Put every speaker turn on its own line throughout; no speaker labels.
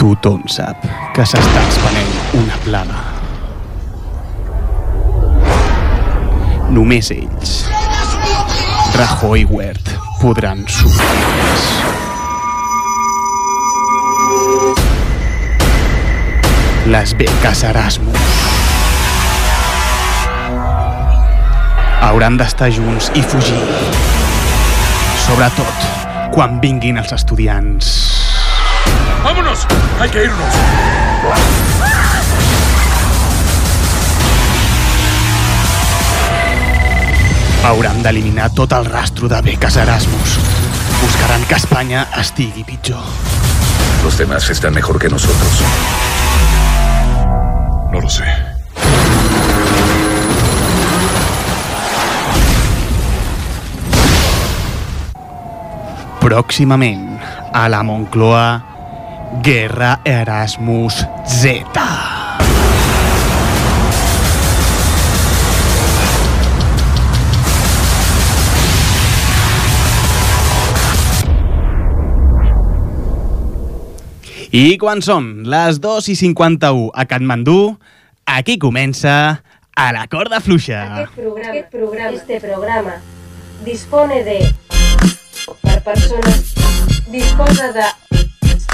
tothom sap que s'està expanent una plaga. Només ells, Rajoy i Wert, podran sortir-les. Les beques Erasmus. Hauran d'estar junts i fugir. Sobretot quan vinguin els estudiants.
¡Vámonos! ¡Hay que irnos!
Hauran d'eliminar tot el rastro de beques Erasmus. Buscaran que Espanya estigui pitjor.
Los demás están mejor que nosotros. No lo sé.
Pròximament, a la Moncloa, Guerra Erasmus Z. I quan són les 2 i 51 a Katmandú, aquí comença a la corda fluixa.
Aquest programa, aquest programa, este programa dispone de per persones disposa de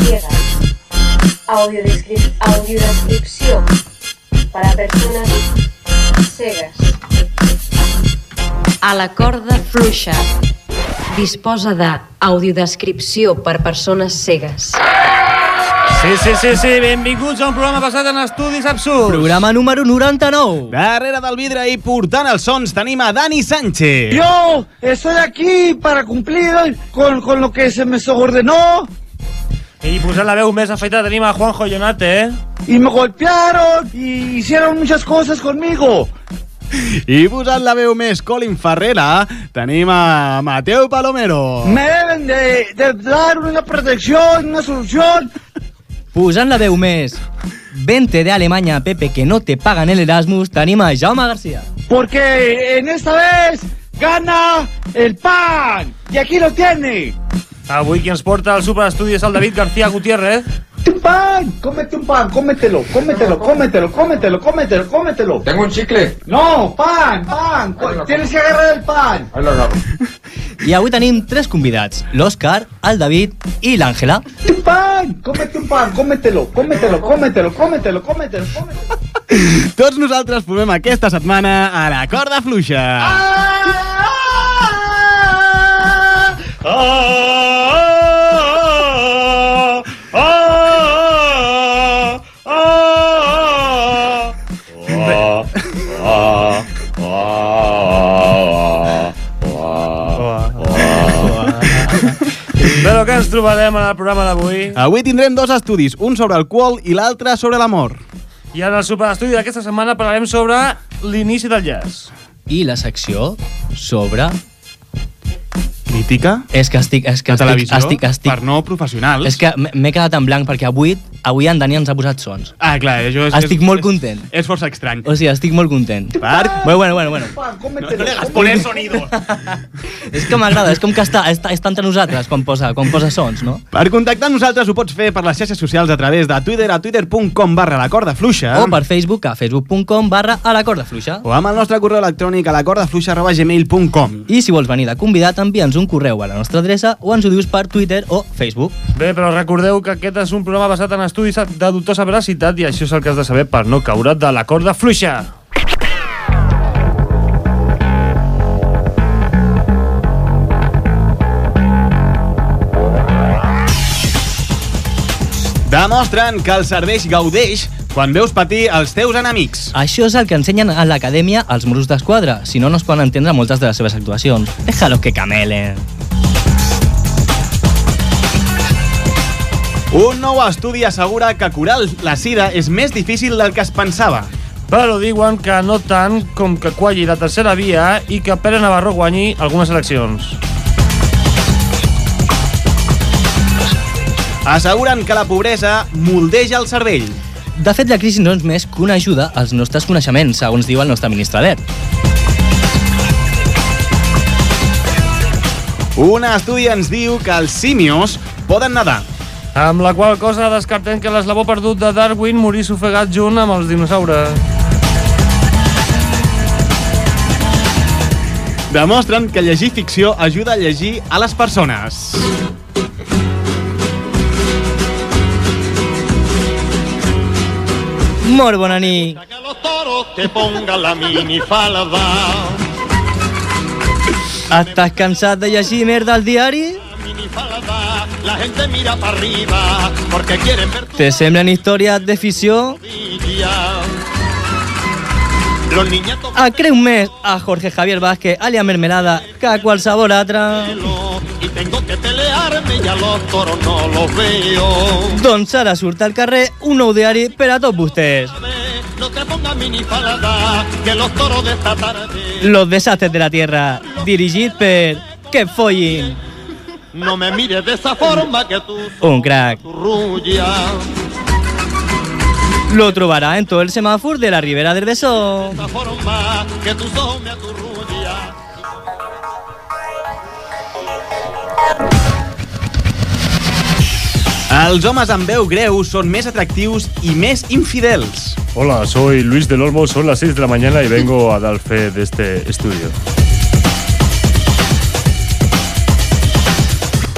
ciega audiodescrip audiodescripció per a persones cegues
A la corda fluixa. Disposa de audiodescripció per persones cegues.
Sí, sí, sí, sí, benvinguts a un programa basat en estudis absurds.
Programa número 99.
Darrere del vidre i portant els sons tenim a Dani Sánchez.
Yo estoy aquí para cumplir con, con lo que se me ordenó
I posant pues la veu més afeitada tenim a Juanjo Jonate, eh?
y me golpearon y hicieron muchas cosas conmigo.
I posant la veu més Colin Ferrera, tenim a Mateu Palomero.
Me deben de, de dar una protección, una solución.
Posant la veu més. Vente de Alemanya, Pepe, que no te pagan el Erasmus, tenim a Jaume Garcia.
Porque en esta vez gana el pan. Y aquí lo tiene.
Avui qui ens porta al superestudi és el David García Gutiérrez.
Un pan, cómete un pan, cómetelo, cómetelo, cómetelo, cómetelo, cómetelo, cómetelo.
Tengo un chicle.
No, pan, pan, co- tienes que agarrar el pan.
Ahí lo agarro.
I avui tenim tres convidats, l'Òscar, el David i l'Àngela.
Un pan, cómete un pan, cómetelo, cómetelo, cómetelo, cómetelo, cómetelo, cómetelo.
Tots nosaltres formem aquesta setmana a la corda fluixa.
Ah!
Però què ens trobarem en el programa d'avui?
Avui tindrem dos estudis, un sobre el qual i l'altre sobre l'amor.
I en el superestudi d'aquesta setmana parlarem sobre l'inici del jazz.
I la secció sobre...
Crítica
És que estic... És
de
que estic,
televisió
estic,
per
estic,
no professionals.
és que m- m'he quedat en blanc perquè avui avui en Dani ens ha posat sons.
Ah, clar, això és...
Estic
és,
molt content.
És, és força estrany.
O sigui, Ah! estic molt content.
Per...
Bueno, bueno, bueno, bueno.
pan, cómetelo.
Poner sonido.
És que m'agrada, és com que està, està, està entre nosaltres quan posa, quan posa sons, no?
Per contactar amb nosaltres ho pots fer per les xarxes socials a través de Twitter a twitter.com barra la corda fluixa.
O per Facebook a facebook.com barra a la corda fluixa.
o amb el nostre correu electrònic a la corda fluixa arroba gmail.com.
I si vols venir de convidat, envia'ns un correu a la nostra adreça o ens ho dius per Twitter o Facebook.
Bé, però recordeu que aquest és un programa basat en estudis de dubtosa veracitat i això és el que has de saber per no caure de la corda fluixa.
Demostren que el serveix gaudeix quan veus patir els teus enemics.
Això és el que ensenyen a l'acadèmia als Mossos d'Esquadra, si no, no es poden entendre moltes de les seves actuacions. Déjalos que camelen.
Un nou estudi assegura que curar la sida és més difícil del que es pensava.
Però diuen que no tant com que qualli la tercera via i que Pere Navarro guanyi algunes eleccions.
Asseguren que la pobresa moldeja el cervell.
De fet, la crisi no és més que una ajuda als nostres coneixements, segons diu el nostre ministre d'ER.
Un estudi ens diu que els símios poden nedar.
Amb la qual cosa descartem que l'eslabó perdut de Darwin morís ofegat junt amb els dinosaures.
Demostren que llegir ficció ajuda a llegir a les persones.
Molt bona nit.
Que los toros te pongan la minifalda.
Estàs cansat de llegir merda al diari?
Minifalda, la gente mira para arriba porque quieren ver tu
Te semblen històries de ficció?
día. Los niñatos
A Ah, creu més a Jorge Javier Vázquez, alias Mermelada, que a qualsevol altre.
pelo y tengo que pelearme y a los toros no los veo.
Doncs ara surt al carrer un nou diari per a tots vostès.
Ve, No te pongas minifalda, que los toros de esta tarde
Los desastres de la Tierra, dirigit per... Que follin,
no me mires de esa forma que tú
un crack.
zurrullas.
Lo trobarà en tot el semàfor de la Ribera del Besó.
De esa forma que tus ojos me aturrullan.
Els homes amb veu greu són més atractius i més infidels.
Hola, soy Luis del Olmo, son las 6 de la mañana y vengo a dar fe de este estudio.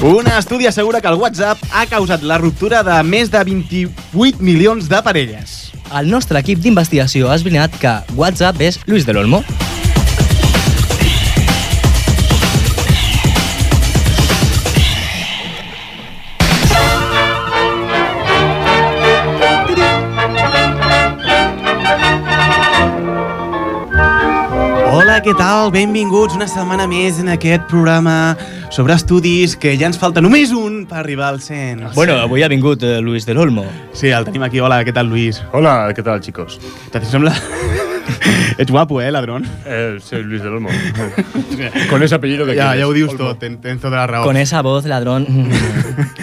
Un estudi assegura que el WhatsApp ha causat la ruptura de més de 28 milions de parelles.
El nostre equip d'investigació ha esbrinat que WhatsApp és Luis del Olmo.
Hola, què tal? Benvinguts una setmana més en aquest programa sobre estudis que ja ens falta només un per arribar al 100.
Bueno, avui ha vingut eh, Luis del Olmo.
Sí, el tenim aquí. Hola, què tal, Lluís?
Hola, ¿qué tal, chicos?
Te sembla... Ets guapo, eh, ladrón?
Eh, soy Luis del Olmo. Con ese apellido que
Ja,
quieres.
ja ho dius
Olmo.
tot, ten- tens tota la raó.
Con esa voz, ladrón.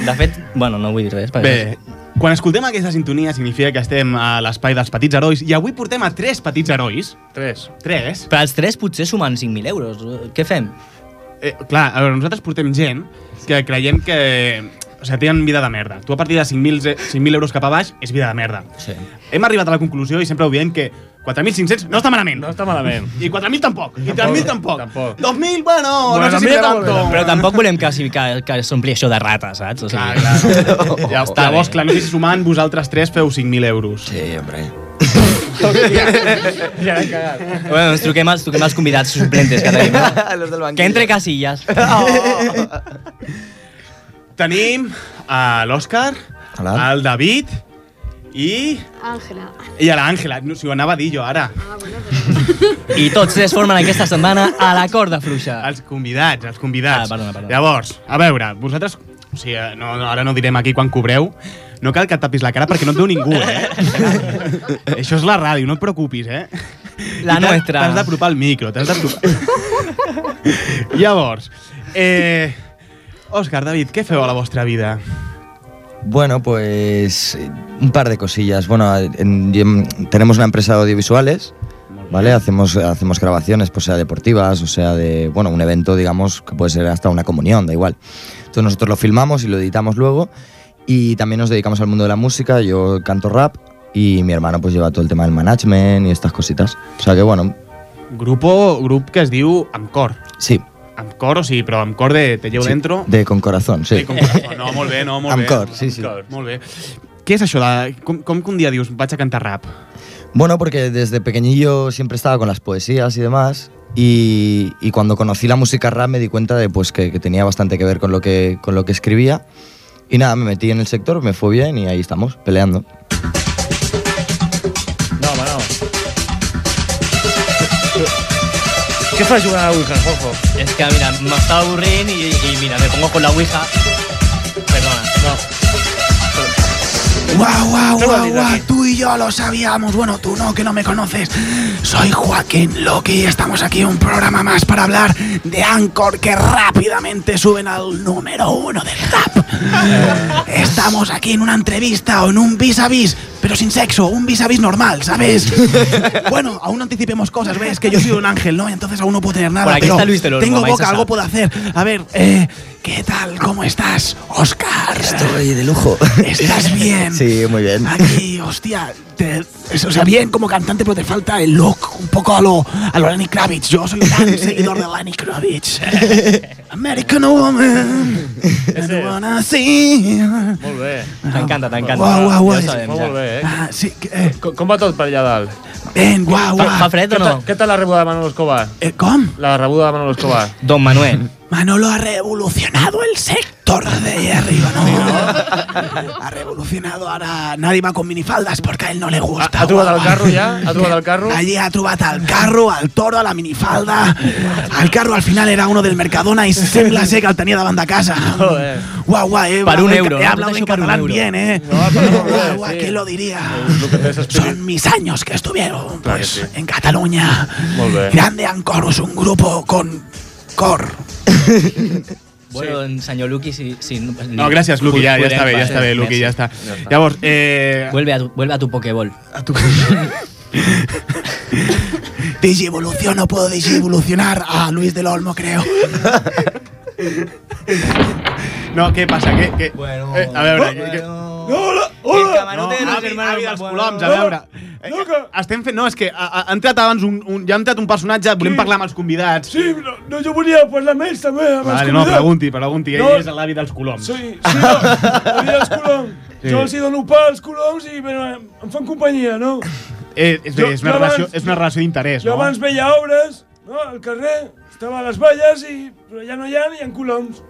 De fet, bueno, no vull dir res. perquè-
Bé, quan escoltem aquesta sintonia significa que estem a l'espai dels petits herois i avui portem a tres petits herois.
Tres.
Tres.
Però els tres potser sumen 5.000 euros. Què fem?
Eh, clar, a veure, nosaltres portem gent que creiem que... O sigui, tenen vida de merda. Tu a partir de 5.000 e- 5.000 euros cap a baix és vida de merda.
Sí.
Hem arribat a la conclusió i sempre ho diem que 4.500 no està malament.
No está malament.
I 4.000 tampoc. I 3.000 tampoc.
Tampoc.
2.000, bueno,
Bueno,
no sé si
mira,
levanto.
Però tampoc volem classificar que s'ompli això de rates, saps? O
Clar,
sigui,
Ah, clar. ja
està
està. eh. Llavors,
bé.
clar, no sé si sumant vosaltres tres feu 5.000 euros.
Sí, hombre.
Ja l'he cagat.
bueno, ens truquem als, truquem als convidats suplentes que tenim. no?
Los del banquillo.
Que entre casillas.
Ah, Tenim a l'Òscar,
Hola.
al David i,
Ángela.
i a l'Àngela. No, si ho anava a dir jo ara.
Ah, bueno, pero...
I tots tres formen aquesta setmana a la corda fluixa.
Els convidats, els convidats.
Ah, perdona, perdona.
Llavors, a veure, vosaltres... O sigui, no, no, ara no direm aquí quan cobreu. No cal que et tapis la cara perquè no et veu ningú, eh? Això és la ràdio, no et preocupis, eh?
La
I t'has-
nuestra.
T'has d'apropar al micro, t'has d'apropar. Llavors, eh... Òscar, David, què feu a la vostra vida?
Bueno, pues eh, un par de cosillas. Bueno, en- en- tenemos una empresa de audiovisuales, ¿vale? Hacemos, hacemos grabaciones, pues sea deportivas, o sea de, bueno, un evento, digamos, que puede ser hasta una comunión, da igual. Entonces nosotros lo filmamos y lo editamos luego y también nos dedicamos al mundo de la música, yo canto rap y mi hermano pues lleva todo el tema del management y estas cositas. O sea que bueno,
Grupo, grup que es diu Amcor.
sí.
Amcor, o sigui, però Amcor de Te llevo
sí,
dentro.
De con corazón, sí.
Sí, com corazón. No, molt bé, no, molt
Amcor,
bé.
sí, sí.
Amcor.
Molt bé. Què és això? De, com, com que un dia dius, vaig a cantar rap?
Bueno, porque desde pequeñillo siempre estaba con las poesías y demás. Y, y cuando conocí la música rap me di cuenta de pues, que, que tenía bastante que ver con lo que, con lo que escribía. Y nada, me metí en el sector, me fue bien y ahí estamos, peleando.
No, home, no. Què fas jugant a la Ouija, Juanjo?
Es que, mira, me está aburriendo y, y mira, me pongo con la ouija. Perdona, no.
Guau, guau,
No lo digas.
tú y yo lo sabíamos. Bueno, tú no, que no me conoces. Soy Joaquín Loki y estamos aquí en un programa más para hablar de Anchor que rápidamente suben al número uno del rap. estamos aquí en una entrevista o en un vis a vis,
pero sin sexo, un vis a vis normal, ¿sabes? bueno, aún no anticipemos cosas, ¿ves? Que yo soy un ángel, ¿no? Entonces aún no puedo tener nada.
Por aquí
pero
está Luis del Olmo,
Tengo
vais a
boca,
saber.
algo puedo hacer. A ver, eh, ¿qué tal? ¿Cómo estás, Oscar?
Estoy de lujo.
¿Estás bien?
Sí, muy bien.
Aquí, hostia, te- es- o sea, bien como cantante, pero te falta el look un poco a lo, a lo Lenny Kravitz. Yo soy un gran seguidor de Lenny Kravitz. eh. American woman,
Ese
I
es.
wanna see.
Molt bé.
T'encanta, t'encanta.
Guau, guau, guau.
Ja ho sabem,
Molt, molt
ja.
bé, eh?
Ah, sí, que, eh,
Com, com va tot per allà dalt?
ven, guau,
Fa, fa
guau.
fred
Què
o no?
tal, què tal la rebuda de Manolo Escobar?
Eh, ¿Cómo?
La rebuda de Manolo Escobar.
Don Manuel.
Manolo ha revolucionado el sector de ahí arriba, ¿no? ha revolucionado, ahora nadie va con minifaldas porque a él no le
Ha,
gusta.
ha trobat el
guapa.
carro ja? Ha trobat el carro?
Allí ha trobat el carro, el toro, a la minifalda. El carro al final era uno del Mercadona i sembla ser que el tenia davant de casa.
Joder.
Guau, guau, eh?
Per
hablo
un
en-
euro,
He
¿no?
hablado
Tot
en
això per un
catalán
euro.
bien, eh?
No, per un euro,
guau, guau,
sí.
¿quién lo diría?
És el que té espírit.
Son mis años que estuvieron
Claro que
pues,
sí.
en Cataluña.
Molt bé.
Grande Ancorus, un grupo con cor.
Bueno, en senyor Luqui, si... si pues,
No, gracias, Luki. Ya, ya está bien, ya está bien, Luki, ya está. Ya vamos, eh.
Vuelve a tu, vuelve a tu Pokéball.
Digivolución, no puedo digivolucionar a Luis del Olmo, creo.
No, ¿qué pasa? ¿Qué? qué? Eh, a veure, què- què-
Hola, hola. El camarote de los
avi,
hermanos
avi
pues,
dels
Papuano.
coloms, a veure. Eh, Estem fent... No, és que ha, ha entrat abans un, un... Ja ha entrat un personatge, volem parlar amb els convidats.
Sí, no, no jo volia parlar amb ells també, amb
Vale, no, pregunti, pregunti.
No.
Ell és l'avi dels coloms.
Sí, sí, no, volia els coloms.
Sí. Jo els
hi dono pa als coloms i em, fan companyia, no?
Eh, és,
Jo-
bé, és, una
jo abans-
relació, és una relació d'interès,
Jo
no?
abans veia obres, no, al carrer, estava a les valles i però ja no hi ha ni en coloms.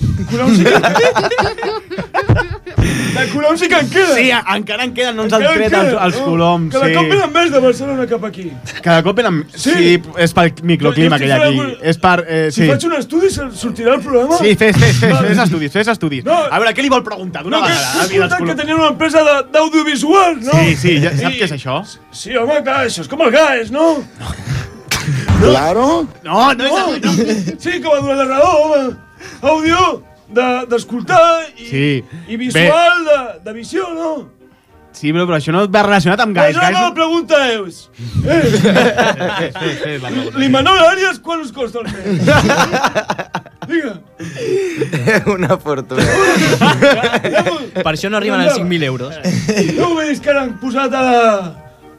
En coloms sí que en queden. En coloms sí que en queden.
Sí, a- encara en queden, no ens han
Encara en
tret els,
queden,
els
no?
coloms.
Cada
sí.
cop venen més de Barcelona cap aquí.
Cada cop venen... Sí. és pel microclima
Jo- jo
que hi ha
estic
aquí.
fent algun-
És per... Eh,
Si
sí.
faig un estudi se- sortirà el programa?
Sí, fes, fes, fes,
Vale.
fes estudis, fes estudis.
No.
A veure, què li vol preguntar d'una
No, que
vegada?
he
avi dels
escoltat que
coloms?
tenien una empresa de- d'audiovisual, no?
Sí, sí, ja, sap
I-
què és això?
Sí, home, clar, això és com el GAES, no?
No, no és... el- No.
Sí, que va durar narrador, home. Àudio de- d'escoltar i,
Sí.
i visual de, de visió, no?
Sí, però, però això no va relacionat amb
Guys,
gais.
Però la meva pregunta és... Eh, L'Imanol Arias quan us costa el mes? Digue.
Una fortuna.
Ja m'ho-
Per això no arriben als 5.000 euros.
No ho veus que han posat a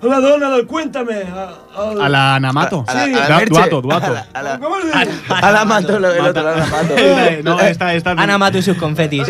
Pues la, a la dona del Cuéntame? A, al-
A la Namato.
a la-
Sí.
a la
Du-
Merche.
Duato, Duato.
Com es diu?
A la mato, lo- el otro, a la mato.
No,
Eh,
esta, esta...
Han amat els seus confetis.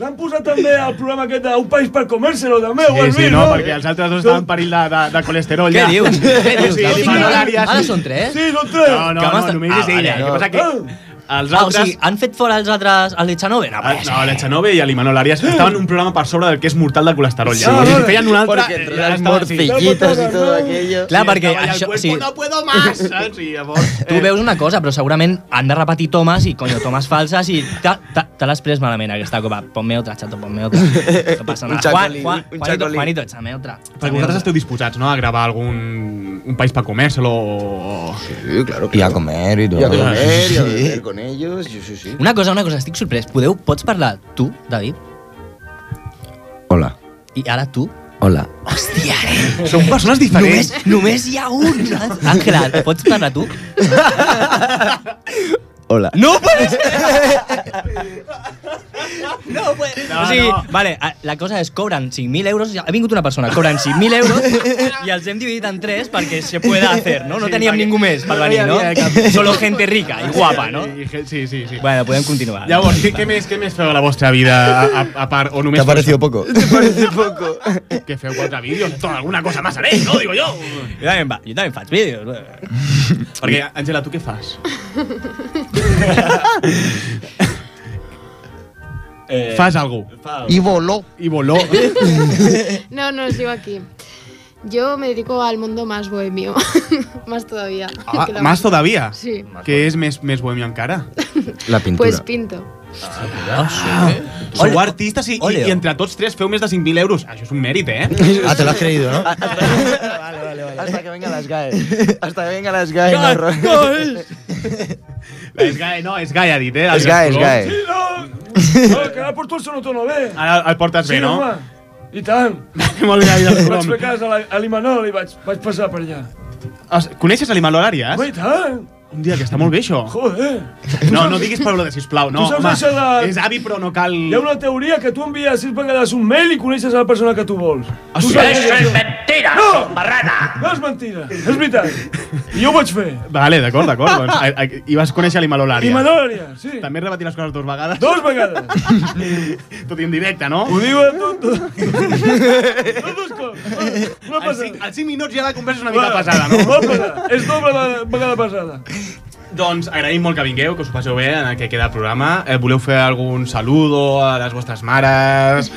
L'han posat també al programa aquest d'un país per comer-se-lo, també, ho
Sí,
has
sí,
vist,
no, perquè els altres dos estaven en perill de, de, de colesterol,
Què
ja.
dius? Què dius?
Sí,
Ara-
Imanol Arias.
Ara són tres? Ah,
Sí, són tres.
No, no,
Que
no,
m'has-
només és
Ah,
ella.
vale,
El que passa que els
Ah, o
altres...
sigui, han fet fora els altres... El Lechanove? No, pues,
Ah, No, la Chanove i l'Imanol Arias estaven en un programa per sobre del que és mortal del colesterol.
Sí.
Ja. O sigui, feien un altre...
Porque entre
ja
las
estava- sí.
morcillitas y todo aquello.
eh, Clar, perquè
estava allà, el
això...
cuerpo
Sí,
No puedo más, saps? I llavors... eh,
tu veus una cosa, però segurament han de repetir tomes i, coño, tomes falses i te, te, te l'has pres malament aquesta copa. Ponme otra, chato, ponme otra. No passa
Un
nada.
chacolí, un
Juan, Juan, Juanito,
chacolí.
Juanito, échame otra.
Perquè vosaltres esteu disposats, no?, a gravar algun un país per comer-se-lo o...
Sí, claro. Y a comer y todo.
a
Ah,
comer,
y a
beber
con ellos. Sí, sí, sí.
Una cosa, una cosa, estic sorprès. Podeu, pots parlar tu, David?
Hola.
I ara tu?
Hola.
Hòstia, eh?
Són persones
Només, només hi ha un. saps? Àngela, pots parlar tu?
Hola.
No pues. puede No
pues.
puede
No,
o sigui,
no.
vale, a- la cosa és cobren 5.000 euros, ha vingut una persona, cobren 5.000 euros i els hem dividit en tres perquè se puede hacer, no? No
Sí,
teníem
perquè-
ningú més per
no
venir,
hi
no?
havia cap-
Solo gente rica i guapa, no?
Sí, sí, sí.
Bueno, podem continuar.
Llavors, què, què, més, què més feu a la vostra vida, a, a, a part, o només...
¿Te ha parecido poco? ¿Te parecido poco?
Que feu quatre vídeos, tot, alguna cosa más haré, no, digo yo.
Jo també, va, jo també faig vídeos.
Perquè, Àngela, tu què fas? eh, fas algú.
y voló.
I voló.
No, no, sigo aquí. Yo me dedico al mundo más bohemio. más todavía.
Ah,
que la
más
música.
todavía.
Sí.
Que és més, més bohemio encara.
La pintura.
Pues pinto.
Sou artistes i, i,
Ole.
i entre tots tres feu més de 5.000 euros. Això és un mèrit, eh?
Ah, te lo has creído, ¿no?
Vale, vale, vale.
Hasta que vengan las GAE. Hasta que vengan las GAE.
És gai, no, és gai, ha dit, eh?
Es GAE, es
colors.
GAE.
Sí, no! no que ara porto el sonotono bé.
Ara el portes bé,
Sí,
no?
home. I tant.
Molt bé, David, el
Vaig
Colom.
fer cas a la- a l'Imanol i vaig, vaig passar per allà.
O sigui, Coneixes l'Animal Horàries?
Home, i tant.
Un dia, que està molt bé, això.
Joder.
No, no diguis Pablo de sisplau, no.
tu saps
home.
això de...
És avi, però no cal...
Hi ha una teoria que tu envies sis vegades un mail i coneixes a la persona que tu vols.
Ah,
Tu
sí?
saps
Això
això.
és mentira,
no!
son barrana.
No és mentira, és veritat. I jo ho vaig fer.
Vale, d'acord, d'acord. doncs, a- a- I vas conèixer l'Animal Horàries.
I Manolària, sí.
També repetir les coses dues vegades.
Dos vegades.
Tot i en directe, no?
Ho diu a tot. Una
passada. Als 5, als 5 minuts ja la conversa és una mica pesada, no?
Molt pesada. És doble de- vegada pesada.
Doncs agraïm molt que vingueu, que us ho passeu bé en el que queda el programa. Eh, voleu fer algun saludo a les vostres mares,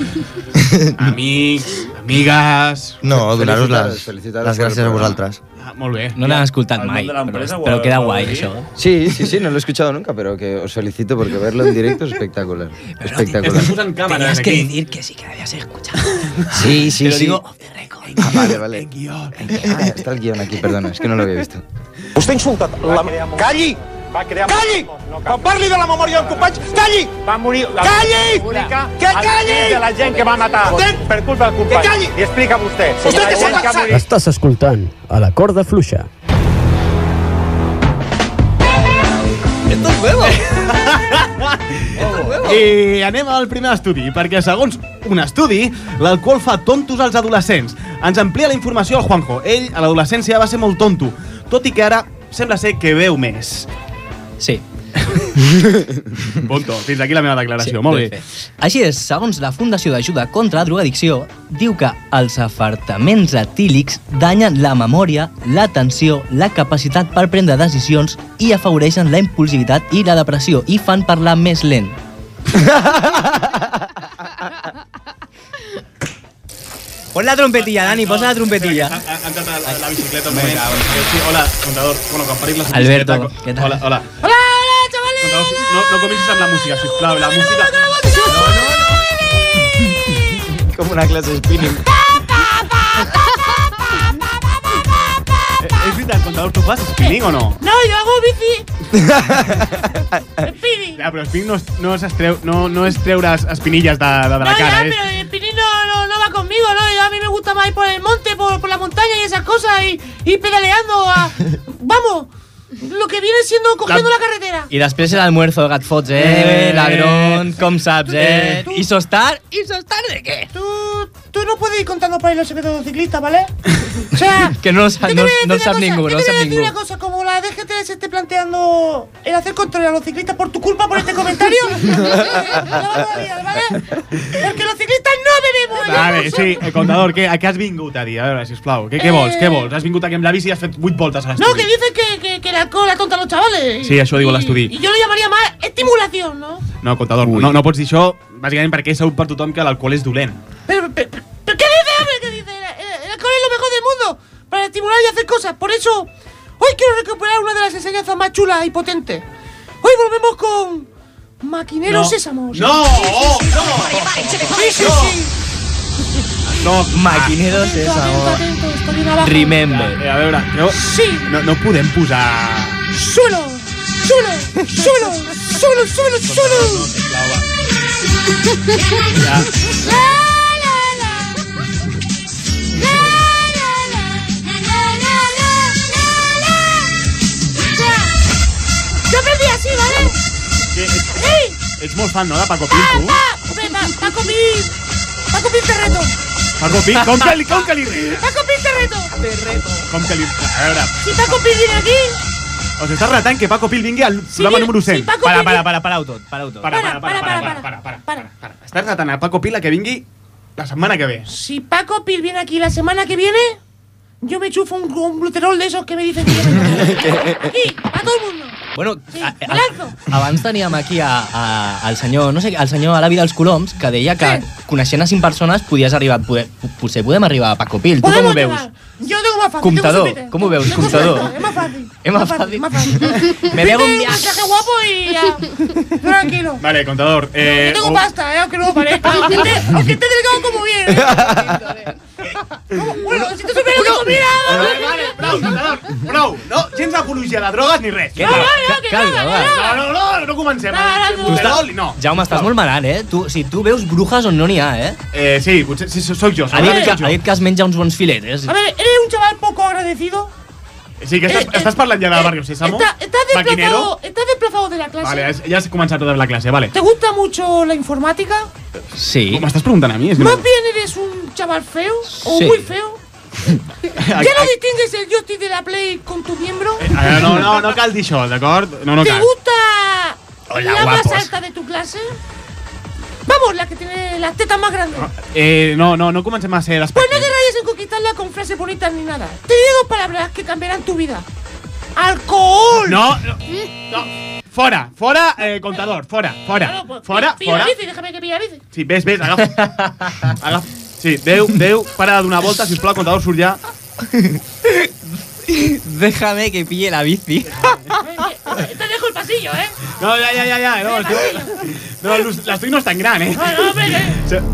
amics, amigues...
No, donar-vos les,
Felicitades
les
per el
gràcies a
programa.
vosaltres.
Ah, molt bé.
No l'han escoltat mai,
empresa
però,
o
però
al-
queda
o al
guai,
día.
això.
Sí, sí, sí, no lo he escuchado nunca, pero que os felicito porque verlo en directo es espectacular. espectacular.
Estás usando cámaras
Tenías
aquí.
que-
decir que sí que habías escuchado.
Sí, sí,
Te lo
sí.
digo
Ah, vale, vale. Ah, está el guión aquí, perdona, es que no lo había visto.
Vostè ha insultat la... Calli! Calli! Quan parli de la memòria del company, calli! Va morir... Calli! Que calli!
de la gent que va matar
per culpa del company. Que calli! I explica vostè. Vostè que s'ha cansat!
Estàs escoltant a la corda fluixa.
Esto es nuevo. I Eh, anem al primer estudi, perquè segons un estudi, l'alcohol fa tontos als adolescents. Ens amplia la informació el Juanjo. Ell, a l'adolescència, va ser molt tonto, tot i que ara sembla ser que veu més.
Sí.
Punto. Fins aquí la meva declaració.
Sí,
molt
ben
bé.
Així és, segons la Fundació d'Ajuda contra la Drogadicció, diu que els afartaments etílics danyen la memòria, l'atenció, la capacitat per prendre decisions i afavoreixen la impulsivitat i la depressió i fan parlar més lent. Pon la trompetilla, Dani, posa la trompetilla.
Ha entrat a la, la bicicleta un moment. Sí, hola, contador. Bueno, quan paris la
Alberto,
bicicleta... Alberto, Hola, hola. Hola, hola, chavales! No, no comencis amb la música, sisplau. La música...
Como una clase de spinning.
Eh, És veritat, contador, tu fas spinning o no?
No, yo hago bici.
Ja, però spinning no, es- no, es treu, no, no es treure es- espinilles de, de, de
No,
la cara,
ya,
eh?
pero el pinín no, no, no va conmigo, ¿no? Yo a mí me gusta más ir por el monte, por, por la montaña y esas cosas y ir pedaleando. a- Vamos, lo que viene siendo cogiendo la carretera.
I després l'almuerzo, que et fots, eh, ladrón, com saps, eh? I sostar,
¿Y sos tarde qué? Tú, tú no puedes ir contando por ahí los secretos de un ciclista, ¿vale? O sea,
que no, sa- no, no sap ningú,
Yo te voy
no sap
a decir
ningú.
una cosa, como la DGT se esté planteando el hacer control a los ciclistas por tu culpa por este comentario, porque los ciclistas no bebemos.
Vale, sí, eh, contador, què, a què has vingut a dir? A veure, sisplau, què, què vols, què vols? Has vingut aquí amb la bici i has fet 8 voltes a
Eh. No, que
l'estudi.
dicen que, que, que el alcohol atonta a los chavales.
Sí, això diu l'estudi.
Y yo lo llamaría más estimulación, ¿no?
No, contador, no, no pots dir això, bàsicament perquè és sabut per tothom que l'alcohol és dolent.
¿Pero qué dice, hombre? ¿Qué dice? El, el- el alcohol es lo mejor del mundo para estimular y hacer cosas. Por eso, hoy quiero recuperar una de las enseñanzas más chulas y potentes. Hoy volvemos con. Maquineros
No.
Sésamos.
No,
Sí, sí, sí. Sí, sí, sí.
No,
maquineros és
Atento,
ahora.
atento, estoy bien abajo.
Remember.
Eh, a veure, no,
sí.
no, no podem posar...
Suelo, suelo, suelo, suelo, suelo, suelo.
Ja.
Yo aprendí así, ¿vale? ¡Sí!
Ets molt fan, no, de Paco Pil, tu?
Hombre, pa, Paco Pil. Paco Pil te reto.
Paco Pil, com que li, com que li ries?
Paco Pil te reto. Te reto.
Com que li... A veure,
Si Paco Pil viene aquí,
Os estàs retant que Paco Pil vingui al programa número 100.
Paco Para, Pil- para,
parau tot, parau tot.
Para, para, para, para, para, para, para, Estàs retant a Paco Pil a que vingui la setmana que ve.
si Paco Pil viene aquí la semana que viene, yo me chufo un, un gluterol de esos que me dicen que yo me Aquí, a todo el mundo.
Bueno, a,
me
a-
lanzo.
abans teníem aquí a, a, al senyor, no sé, al senyor a l'avi dels Coloms, que deia que coneixent a 5 persones podies arribar, poder, potser podem arribar a Paco Pil. Tu com ho veus?
Yo tengo más fácil.
Comptador,
tengo su Twitter.
com ho veus,
Tengo su
comptador?
Twitter, Es más fácil.
És més fàcil. Me
Vete
pego un
un
viaje.
mensaje guapo y ya. Tranquilo.
Vale, contador. Eh,
Yo tengo
un-
pasta, eh, aunque no lo parezca. Aunque esté, aunque esté delgado como bien. ¿eh? Como- Bueno, si te supieras que tengo mirada!
Vale, vale, prou, Salvador, prou. No, gens d'apologia de drogues ni res.
Que no, no, que Calma, no, que va.
No, no, no, no comencem. eh?
Tu estàs-
Superoli, no.
Jaume, estàs molt malalt, eh? Tu, si tu veus brujas on no n'hi ha, eh?
Eh, sí, potser sí, sóc jo.
Ha dit,
segurament
que,
sóc jo.
ha dit que es menja uns bons filetes.
A ver, ¿eres un chaval poco agradecido? Eh,
Sí, que estàs, estàs parlant ja de Barrio Sésamo?
Está- ¿Estás
Maquinero?
desplazado, estás desplazado de la clase?
Vale, has- ja has començat tota la classe, vale.
¿Te gusta mucho la informática?
Sí.
M'estàs preguntant a mi? És que no-
Más bien eres un chaval feo o
Sí.
muy feo. ¿Ya no distingues el joystick de la Play con tu miembro?
Ah, no, no, no cal dir això, d'acord? No, no
¿Te
cal.
gusta
Hola,
la más
guapos.
alta de tu clase? Vamos, la que tiene las tetas más grandes.
Eh, no, no, no comencem a ser
Pues no
despectes.
te rayes en conquistarla con frases bonitas ni nada. Te diré dos palabras que cambiarán tu vida. ¡Alcohol!
No, no, Fora, fora, eh, contador, fora, fora,
Claro, pues,
fora,
pilla
fora.
la bici, déjame que pilla la bici. Eh,
Sí, ves, ves, agafa. agafa. Sí, Déu, Déu, para de donar voltes, sisplau, el contador surt ja.
Déjame que pille la bici.
Te dejo el pasillo, ¿eh?
No, ya, ya, ya, ya. No, estoy, no, Luz, la estoy no es tan gran, eh.
No, no, hombre,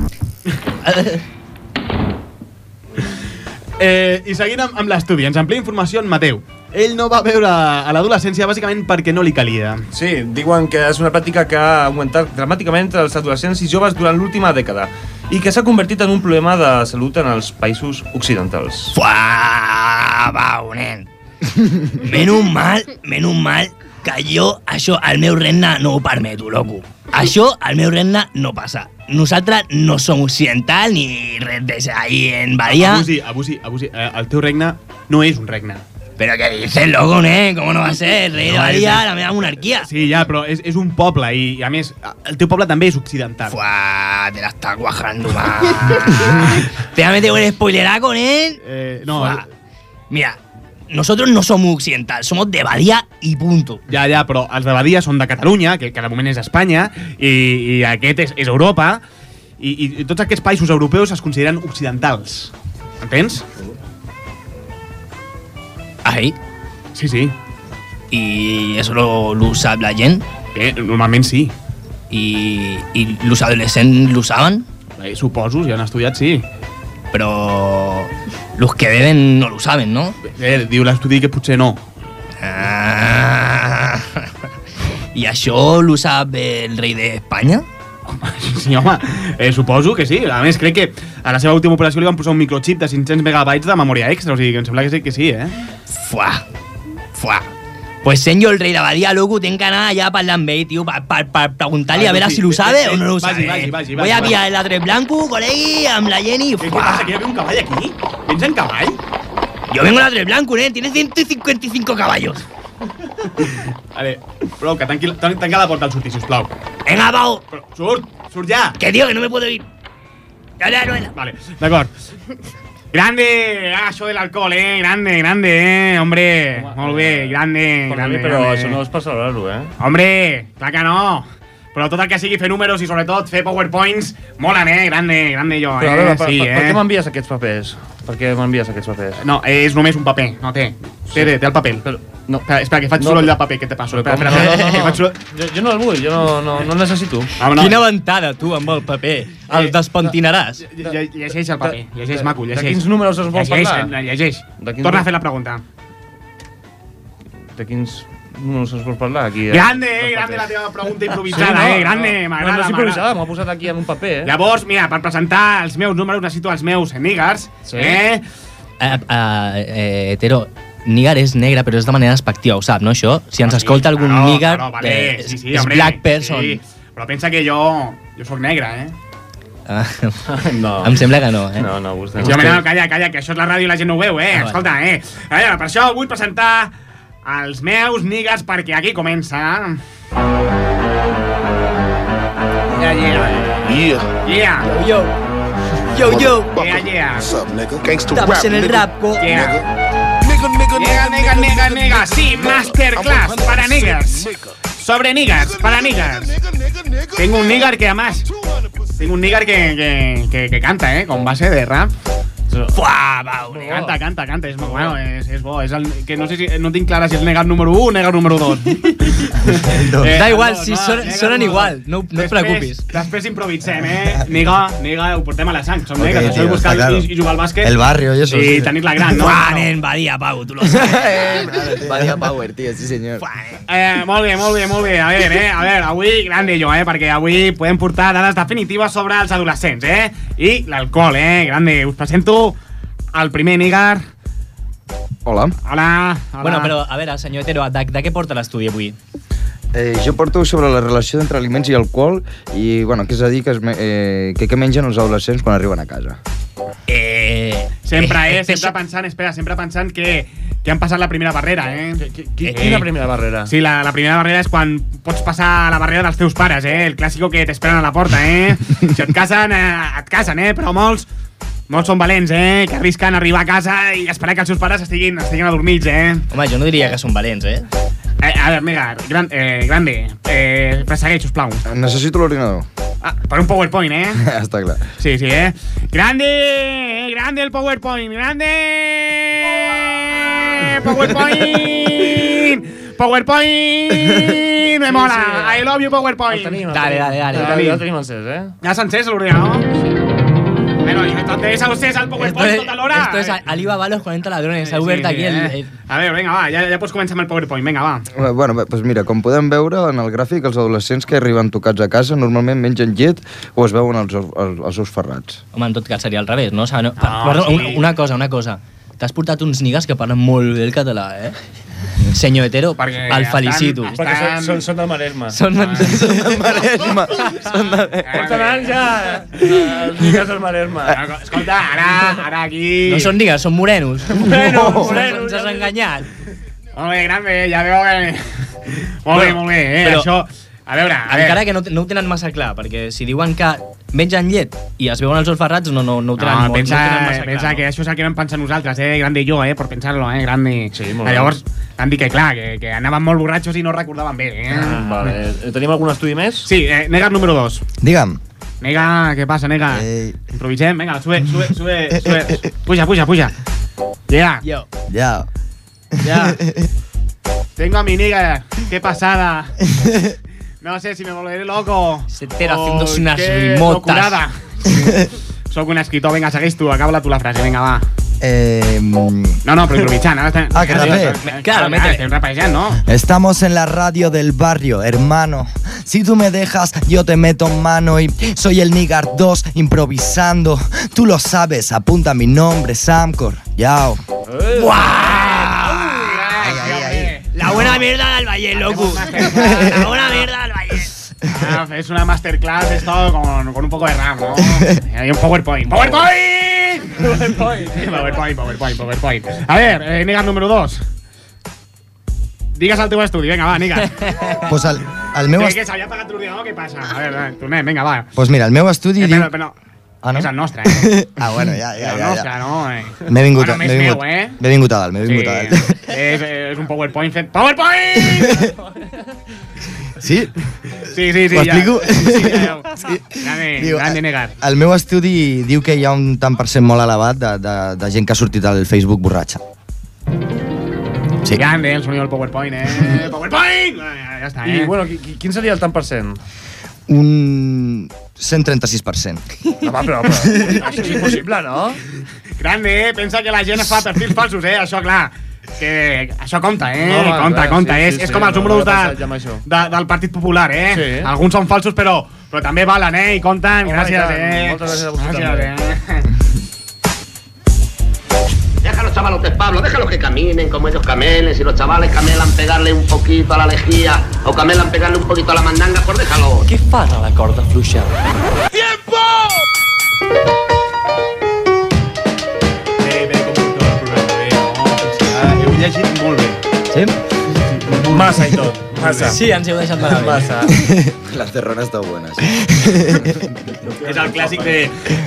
Eh, I seguint amb, amb l'estudi, ens amplia informació en Mateu. Ell no va veure a l'adolescència bàsicament perquè no li calia.
Sí, diuen que és una pràctica que ha augmentat dramàticament entre els adolescents i joves durant l'última dècada i que s'ha convertit en un problema de salut en els països occidentals.
Fuà, va, un nen. Menys mal, menys mal que jo això al meu regne no ho permeto, loco. Això al meu regne no passa. Nosaltres no som occidental ni res de ser ahí en Bahia.
Abusi, abusi, abusi. Eh, el teu regne no és un regne.
Però què dices, loco, nen? ¿Cómo no va a ser? El rei de Bahia, la meva monarquia.
Sí, ja, però és, és un poble i, a més, el teu poble també és occidental.
Fuà, te la està guajando, va. Te voy a meter un spoileraco, nen.
Eh, no.
Fuà. Mira, nosotros no somos occidental, somos de Badía y punto.
Ja, ja, però els de Badia són de Catalunya, que, que de moment és Espanya, i, i aquest és, és Europa, i, i, i tots aquests països europeus es consideren occidentals. Entens?
Ahí.
Sí, sí.
¿Y eso lo, lo usa la gent?
Eh, normalment sí.
¿Y, y los adolescentes lo usaban?
Eh, suposo, si han estudiat, sí.
Però los que beben no lo saben, no?
Eh, diu l'estudi que potser no.
Ah, I això lo sap el rei d'Espanya?
Sí, home, eh, suposo que sí. A més, crec que a la seva última operació li van posar un microchip de 500 megabytes de memòria extra, o sigui que em sembla que sí, que sí eh?
Fuà, fuà. Pues sent jo el rei de Badia, loco, tenc que anar allà a parlar amb ell, tio, per, per, per preguntar-li
Ah,
a veure
sí,
si lo
sí,
sabe
sí,
o no lo
vagi,
sabe.
vagi, vagi,
Voy a
vagi,
pillar
vagi.
el atre blanco, col·legui, amb la Jenny, fuà.
Què passa, que hi havia un cavall aquí? Vens en cavall?
Yo vengo el atre blanco, nen, tiene 155 caballos.
A veure, prou, que tanqui, tan- tanca la porta al sortir, sisplau.
Vinga, Pau.
Però, surt, surt ja.
Que digo, que no me puedo ir. Ya, ya, ya.
Vale, d'acord. Grande, ah, això de l'alcohol, eh? Grande, grande, eh? Hombre, molt bé, grande, grande.
però
grande.
això no és per celebrar-ho, eh?
Hombre, clar que no. Però tot el que sigui fer números i sobretot fer powerpoints, molen, eh? Grande, grande jo,
Però a
eh?
veure, per,
sí,
per,
eh?
per què m'envies aquests papers? Per què m'envies aquests papers?
No, és només un paper, no té. Té, té, té el paper. Però, no. Espera, espera, que faig
No,
soroll de
però-
paper, que te passo.
Però
Espera, espera,
com? No,
espera,
no, no.
que faig soroll...
Jo, jo no el vull, jo no, no, no el necessito.
Vámonos. Quina
ventada, tu, amb el paper.
El
despentinaràs.
Lle- Llegeix el paper, llegeix,
de-
maco,
de
llegeix.
quins números es vol
llegeix,
parlar?
eh, Llegeix,
De quins
Torna
nu-
a fer la pregunta.
De quins números es vol parlar aquí?
Grande, eh? Grande la teva pregunta improvisada, eh?
No,
Grande, m'agrada,
no és
m'agrada.
improvisada, m'ho ha posat aquí en un paper, eh?
Llavors, mira, per presentar els meus números necessito els meus niggas, sí. eh?
Ah, ah, eh, hetero, nígar és negre, però és de manera despectiva, ho sap, no, això? Si ens escolta algun
Ah, Claro,
nígar,
claro, vale,
eh,
sí, sí,
és
hombre,
black person.
Sí. Però pensa que jo, jo sóc negre, eh?
Ah, Em sembla que no, eh?
No, no, vostè
Jo, no, calla, calla, que això és la ràdio i la gent no ho veu, eh?
Ah, vale.
Escolta, eh? A veure, per això vull presentar els meus niggas perquè aquí comença... Yeah, yeah.
Yeah.
Yeah.
Yo,
Yo, yo. Yeah, yeah.
What's up, nigga? Gangsta
Estamos
rap,
en el
nigga.
rap, Eh, co-
Nigga. Nigga, nigga, nigga,
Nega,
nigga,
nega, nega,
nigga,
nega. Sí,
nigga.
masterclass
I'm a
para
100%
niggas. Sobre niggas, para niggas. Tengo un nigger que además... Tengo un nigger que, que, que, que canta, ¿eh? Con base de rap. Eso Fuà, va, un Canta, canta, canta, és, molt bueno, és, és bo. És el, que no, sé si, no tinc clara si és negat número 1 o negat número Eh, 2.
Da igual, si sonen- sonen igual, no- no et preocupis.
Després improvisem, eh? Nega, nega, ho portem a la sang, som
Ok,
negas,
tio,
això és buscar
està claro.
i, i jugar al bàsquet.
El barrio y eso,
I
sí.
tenir la gran, no?
Fuà,
nen,
vadia, Pau, tu lo
eh.
Vaya power, tío, sí señor.
Eh, molt bé, molt bé, molt bé. A veure, eh? A veure, avui, grande jo, eh? Perquè avui podem portar dades definitives sobre els adolescents, eh? I l'alcohol, eh? Grande. Us presento el primer negar.
Hola.
Hola, hola.
Bueno, però, a veure, senyor Hetero, de, de què porta l'estudi avui?
Eh, jo porto sobre la relació entre aliments i alcohol i, bueno, què és a dir, que, es, me- eh, que què mengen els adolescents quan arriben a casa.
Eh,
sempre, eh? Sempre pensant, espera, sempre pensant que, que han passat la primera barrera, eh?
Qui- Quina primera barrera?
Sí, la, la primera barrera és quan pots passar la barrera dels teus pares, eh? El clàssico que t'esperen a la porta, eh? Si et casen, eh, et casen, eh? Però molts, molts són valents, eh? Que arrisquen arribar a casa i esperar que els seus pares estiguin, estiguin adormits, eh?
Home, jo no diria que són valents, eh?
eh a veure, mira, gran, eh, grande, eh, persegueix, sisplau.
Necessito l'ordinador.
Ah, per un PowerPoint, eh?
Està clar.
Sí, sí, eh? Grande, eh, grande el PowerPoint, grande PowerPoint, PowerPoint, me mola, I love you PowerPoint.
Dale, dale, dale.
Ja, ja el tenim encès, eh?
Ja s'encès l'ordinador? Bueno, y entonces a ustedes al PowerPoint
Esto es-
total hora.
Esto es Alibaba los 40 ladrones. Ha obert aquí el...
eh? A veure, vinga, va, ja, ja pots començar amb el PowerPoint, vinga, va.
Eh, Bueno, bé, doncs mira, com podem veure en el gràfic, els adolescents que arriben tocats a casa normalment mengen llet o es veuen els, els, els ous ferrats.
Home, en tot cas seria al revés, no? O sigui, no
Ah,
perdó,
sí.
una, una cosa, una cosa. T'has portat uns nigues que parlen molt bé el català, eh? Senyor Hetero, el felicito.
Perquè són, són, són del Maresme.
Són
Ah.
del
Maresme. Són del...
Porten anys ja eh, els lligues del Maresme.
Ah,
Escolta, ara, ara aquí...
No són nigues, són morenos.
Morenos,
No.
morenos,
Ens has enganyat.
Molt bé, grande, ja veu que... Molt bé, molt bé, eh?
però-
Això... A veure, a veure.
Encara que no, no ho tenen massa clar, perquè si diuen que mengen llet i es veuen els ous ferrats, no, no, no ho tenen,
No,
molt,
pensa,
no ho tenen massa
pensa que això és el que vam pensar nosaltres, eh? Grande i jo, eh? Per pensar-lo, eh? Grande. Sí,
molt bé.
Llavors, vam dir que, clar, que, que anaven molt borratxos i no recordaven bé, eh?
Ah, vale.
Tenim algun estudi més? Sí, eh, negar número 2.
Digue'm.
Nega, què passa, nega? Eh... Improvisem, vinga, sube, sube, sube, sube. Puja, puja, puja. Llega.
Yo.
Ya.
Ya. Tengo a mi nega. Qué pasada. No sé si me volveré loco. Se
entera haciéndose unas rimotas.
Soc un escritor, vinga, segueix tu, acaba-la tu la frase, vinga, va.
Eh,
No, no, però improvisant, ara estem...
Ah, que rapé.
Claro,
métele.
Estem rapejant, no?
Estamos en la radio del barrio, hermano. Si tú me dejas, yo te meto mano y soy el Nigar 2 improvisando. Tú lo sabes, apunta mi nombre, Samcor. Yao. Ah,
La buena mierda del Valle, loco. La buena mierda del Valle.
Ah, es una masterclass esto con, con un poco de RAM, ¿no? Y Hay un PowerPoint. ¡PowerPoint! PowerPoint, PowerPoint, PowerPoint, PowerPoint. A ver, eh, Nigas número 2. Digas al teu estudi, venga, va, Nigas.
Pues al, al meu
Eh,
est-
que s'havia apagat l'ordinador, què passa? A veure, eh, tornem, vinga, va.
pues mira, el meu estudi
Eh,
diu-
però, però,
Ah, no?
és el nostre, eh?
Ah, bueno, ja, ja,
el
ja,
nostre,
ja.
no? Eh?
M'he vingut,
bueno,
m'he
més
vingut,
meu, eh?
m'he vingut a dalt, m'he vingut a dalt.
És, és un PowerPoint fet... PowerPoint!
Sí?
Sí, sí, sí.
Ho
ja.
explico? ah,
Sí, ja, ja. Grande,
Diu,
grande negar.
El meu estudi diu que hi ha un tant per cent molt elevat de, de, de gent que ha sortit al Facebook borratxa.
Eh,
Sí.
Grande, el sonido del PowerPoint, eh? ¡PowerPoint! Ah, Ya está, eh.
I, bueno, qui- qui- quin seria el tant per cent?
Un 136%.
Ah,
Home, però, però això és impossible, no?
Grande, eh? Pensa que la gent es fa perfils falsos, eh? Això, clar. Que això compta, eh?
Home,
compta,
clar,
compta.
sí,
és,
sí,
és
sí,
com els
no,
números
no
de,
havia pensat ja en això.
de, del Partit Popular, eh?
Sí.
Alguns són falsos, però, però també valen, eh? I compten.
Home,
gràcies,
i tant.
eh?
Moltes gràcies a vosaltres
Déjalo, chavalotes, Pablo, déjalo que caminen como ellos camelen. Si los chavales camelan pegarle un poquito a la lejía o camelan pegarle un poquito a la mandanga, pues déjalo.
Què fas a la corda fluixa?
¡Tiempo!
Heu llegit molt bé.
Sí?
Massa i tot.
Ah.
Massa.
Sí, ens heu deixat malament.
Massa.
Les terrones estan bones.
És el clàssic de,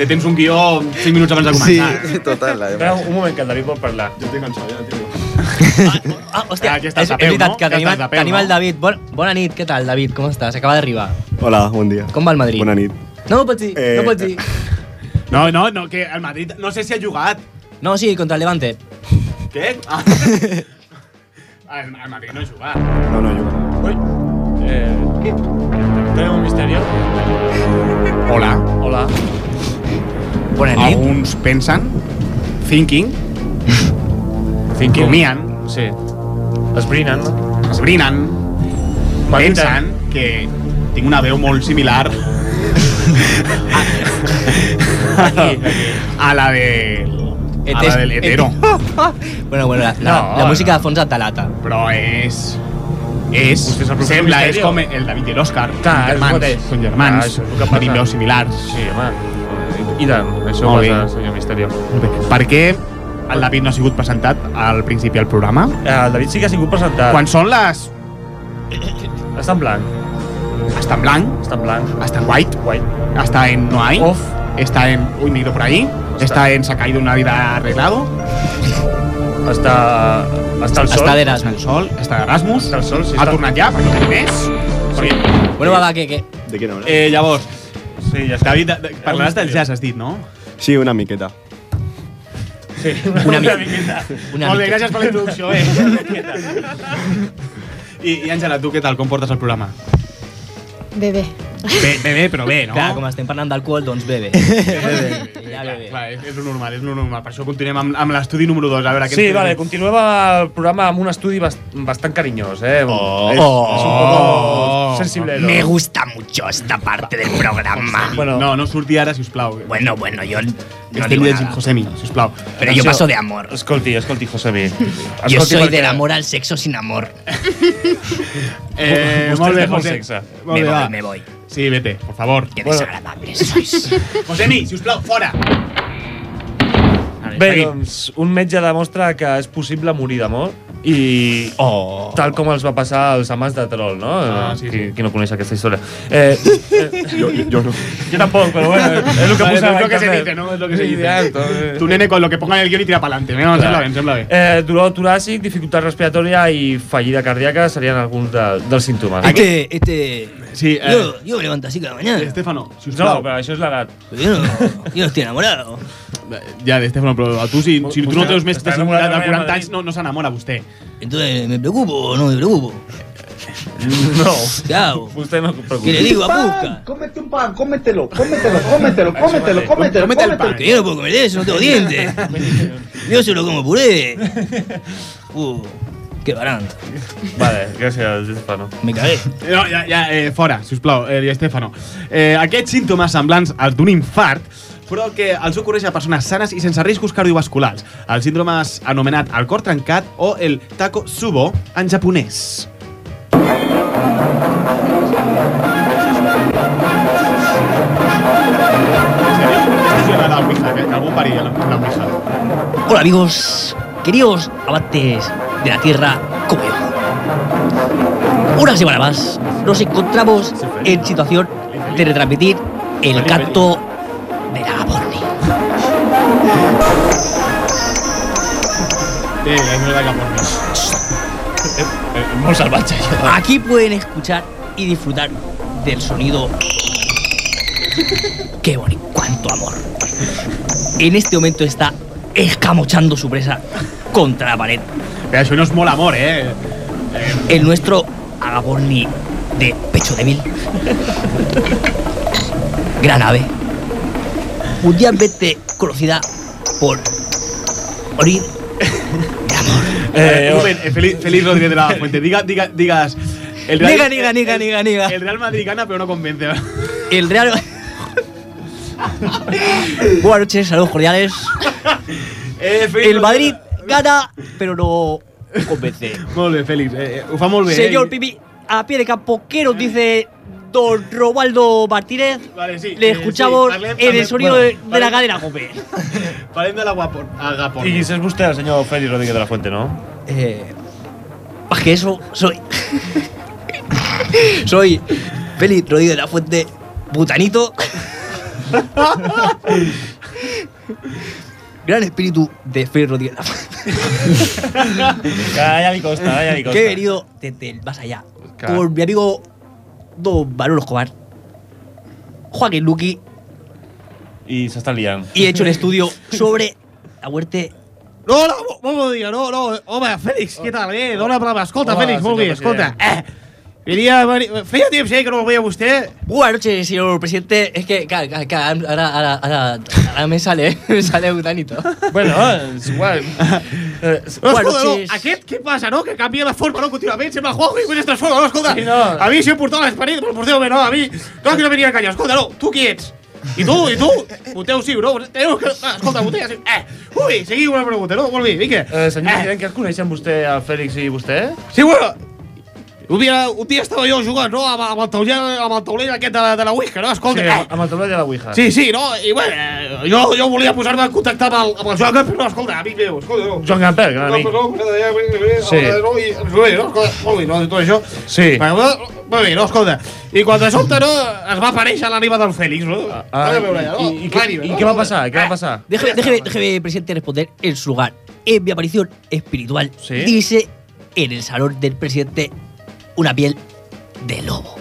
de tens un guió 5 minuts abans de començar.
Sí, total.
Espera un moment, que el David vol parlar. Jo estic cansat, ja, tio.
Ah, hòstia,
Aquí
és,
estàs
és
a peu,
veritat
no?
que
Ja
tenim,
estàs a peu,
tenim
no?
el David. Bon, bona nit, què tal, David? Com estàs? Acaba d'arribar.
Hola, bon dia.
Com va el Madrid?
Bona nit.
No ho pots dir, eh... no ho pots dir.
No, no, no, que el Madrid no sé si ha jugat.
No, sí, contra el Levante.
Què? Ah. el, el Madrid no ha jugat.
No, no, yo. Uy. Eh, ¿Qué? ¿Tenemos un misterio?
Hola.
Hola.
Bona nit. Alguns pensen, thinking,
Thinking.
rumien,
Sí. Esbrinen.
esbrinen, pensen que tinc una veu molt similar a la de... A la del hetero.
bueno, bueno, la, la,
No,
la
no.
música de fons de Talata.
Però és... És,
Vostè és el professor
sembla, és
Misterio.
com el David i l'Òscar. Són
és
germans,
mateix.
són germans,
Ah, això és el que passa.
tenim veus similars.
Sí, home. I tant, això
Molt
ho
bé.
passa, senyor Misterio.
Per què el David no ha sigut presentat al principi del programa?
Eh, El David sí que ha sigut presentat.
Quan són les...
Està en blanc.
Està en blanc.
Està en blanc.
Está en White.
White.
Está en No hay. Off. Está en Uy, me he ido por ahí. Está, en Se ha caído una vida arreglado.
Hasta, hasta el sol.
Està d'Erasmus. Està el sol. Està d'Erasmus. Està el sol, sí. Ha tornat ja, perquè no té més. Sí.
Bueno, va, va, que... que...
De què no?
Eh, llavors,
sí, ja
David, de, de, parlaràs del jazz, has dit, no?
Sí, una miqueta.
Sí,
Una mica.
Una
Molt bé,
mica.
gràcies per la introducció, eh? I, I Àngela, tu què tal? Com portes el programa?
Bebé.
Bé, bé, bé però bé, no?
Clar, com estem parlant d'alcohol, doncs bé, bé.
Ja, bé, bé. Clar, és, és lo normal, és lo normal. Per això continuem amb, amb l'estudi número 2. A veure, què ens
Sí,
trobem?
vale, continuem el programa amb un estudi bast bastant carinyós, eh? Oh, és, és un
Oh.
poco sensible.
Me gusta mucho esta parte del programa.
Bueno, no, no surti ara, si us plau.
Bueno, bueno, yo no
Estem
digo
llegint
nada.
Josemi, si us plau.
Pero yo paso de amor.
Escolti, escolti, Josemi.
Yo
Escolti,
soy
perquè-
del amor al sexo sin amor.
Eh,
Vostè
molt
és de
bé, Eh, José.
sexe.
Molt
Me
bé,
voy,
va.
me voy.
Sí, vete, por favor.
Qué
Bueno.
desagradables sois.
Josemi, si us plau, fora!
Bé, doncs, un metge demostra que és possible morir d'amor i oh. tal com els va passar als amants de Troll, no?
Ah,
sí, qui, qui no coneix aquesta història. Eh, eh, jo, jo, jo no. Jo tampoc, però bueno, és el que posa
Vale, es
a
lo que se
internet.
dice, ¿no? Es lo que se dice.
Exacto, eh.
Tu nene con lo que ponga en el guión y tira para adelante. No, sembla bé, em sembla bé.
Eh, dolor toràcic, dificultat respiratòria i fallida cardíaca serien alguns de, dels símptomes.
Este, este.
Sí, eh. Este-
yo, yo me levanto así cada mañana. Pues
Estefano, si us
No,
plau.
però això és l'edat.
Yo, no- yo estoy enamorado.
Ja, de Estefano, però a tu, si, si tu no
vostè
treus més de
està enamorat
50,
de
de
Real
40
Madrid.
anys, no, no s'enamora vostè.
Entonces, ¿me preocupo o no me preocupo?
No.
¿Qué hago?
Usted no preocupa.
¿Qué le digo a Puka?
Cómete un pan, cómetelo, cómetelo, cómetelo, cómetelo, cómetelo, cómetelo.
Porque yo no puedo comer de eso, no tengo dientes. Yo solo como puré. Uh, qué barán.
Vale, gràcies, Estefano.
Me cagué.
No, ja, ja, eh, fora, sisplau, eh, Estefano. Eh, aquests símptomes semblants als d'un infart però el que els ocorreix a persones sanes i sense riscos cardiovasculars. El síndrome és anomenat el cor trencat o el taco subo en japonès.
Hola amigos, queridos abates de la tierra como yo. Una semana más nos encontramos en situación de retransmitir el canto de la Borni.
Molt salvatge,
Aquí pueden escuchar y disfrutar del sonido. Qué bonito, cuánto amor. En este momento está escamochando su presa contra la pared.
Pero eso no es mola amor, eh.
El nuestro Agaborni de pecho débil. Gran ave. Mundialmente conocida por morir
Eh, un moment, eh, Feli- Félix Rodríguez de la Fuente, diga, diga, digas. El
Niga, niga, niga, niga, niga.
El Real Madrid gana, pero no convence.
el Real. Buenas noches, saludos cordiales.
Eh,
el Madrid gana, pero no convence.
Molt bé, Félix. Eh, eh, ho fa molt bé.
Señor
eh?
Pipi, a pie de campo, ¿qué nos dice don Robaldo Martínez?
Vale, sí,
Le
eh,
escuchamos
sí, parlem-
en
parlem-
el sonido
bueno,
de, de la
parlem-
cadena, Jope.
Parlem de l'Agapor. Agapor.
I és vostè el senyor Félix Rodríguez de la Fuente, no?
Eh, más que eso, soy. soy Félix Rodríguez de la Fuente, butanito. Gran espíritu de Félix Rodríguez de la Fuente.
Ja, ja li costa, ja li costa.
Que he venido desde el más allá.
Claro.
Por mi amigo Don Manolo Escobar, Joaquín Luqui
y se están liando.
Y he hecho un estudio sobre la muerte.
No, no, no ho diga, no, no. Home, Fèlix, què tal? Bé, dona brava. Escolta,
Hola,
Fèlix, molt
senyor
bé, escolta. Eh,
president.
Quería venir... Feia tiempo eh, que no lo veía a usted.
Buenas noches, señor presidente. Es que, claro, claro, claro, ahora, ahora, ahora, ahora me sale, me sale Eh, un tanito.
Bueno, es igual.
No, escolta, no, aquest què passa, no? Que canvia la forma, no? Contínuament, sembla Juanjo i després es transforma, no? Escolta,
Sí, no.
a mi si em portava l'esperit, però porteu bé, no? A mi, clar que no venia a enganyar. Escolta, no, tu qui ets? I tu, i tu? Voteu sí, no? Teniu que... Ah, escolta, voteu sí. Eh, ui, seguiu una pregunta, no? Molt bé, vinga.
Eh, senyor president, que es coneixen vostè, el Fèlix i vostè?
Sí, bueno, un dia, un dia estava jo jugant, no?, amb, amb el tauler, amb el tauler aquest de, la- de la Ouija, no? Escolta,
Sí,
eh,
amb amb el tauler de la Ouija.
Sí, sí, no? I bueno, eh, jo, jo volia posar-me en contacte amb el, amb el Joan Gamper, però escolta, amic meu, escolta, no.
Joan Gamper, gran amic.
No, però no, no,
Sí.
no, i ens ve, no? Escolta, molt bé, no, tot això.
Sí.
Va, va, va bé, no, escolta. I quan de sobte, no, es va aparèixer l'ànima del Fèlix, no?
Ah,
Vaig a veure, no?
i- i- i què-
L'ànima,
i
no?
què va passar? Què va passar?
Déjeme, déjeme, déjeme, presidente, responder en su lugar. En mi aparición espiritual, dice en el salón del presidente una piel de lobo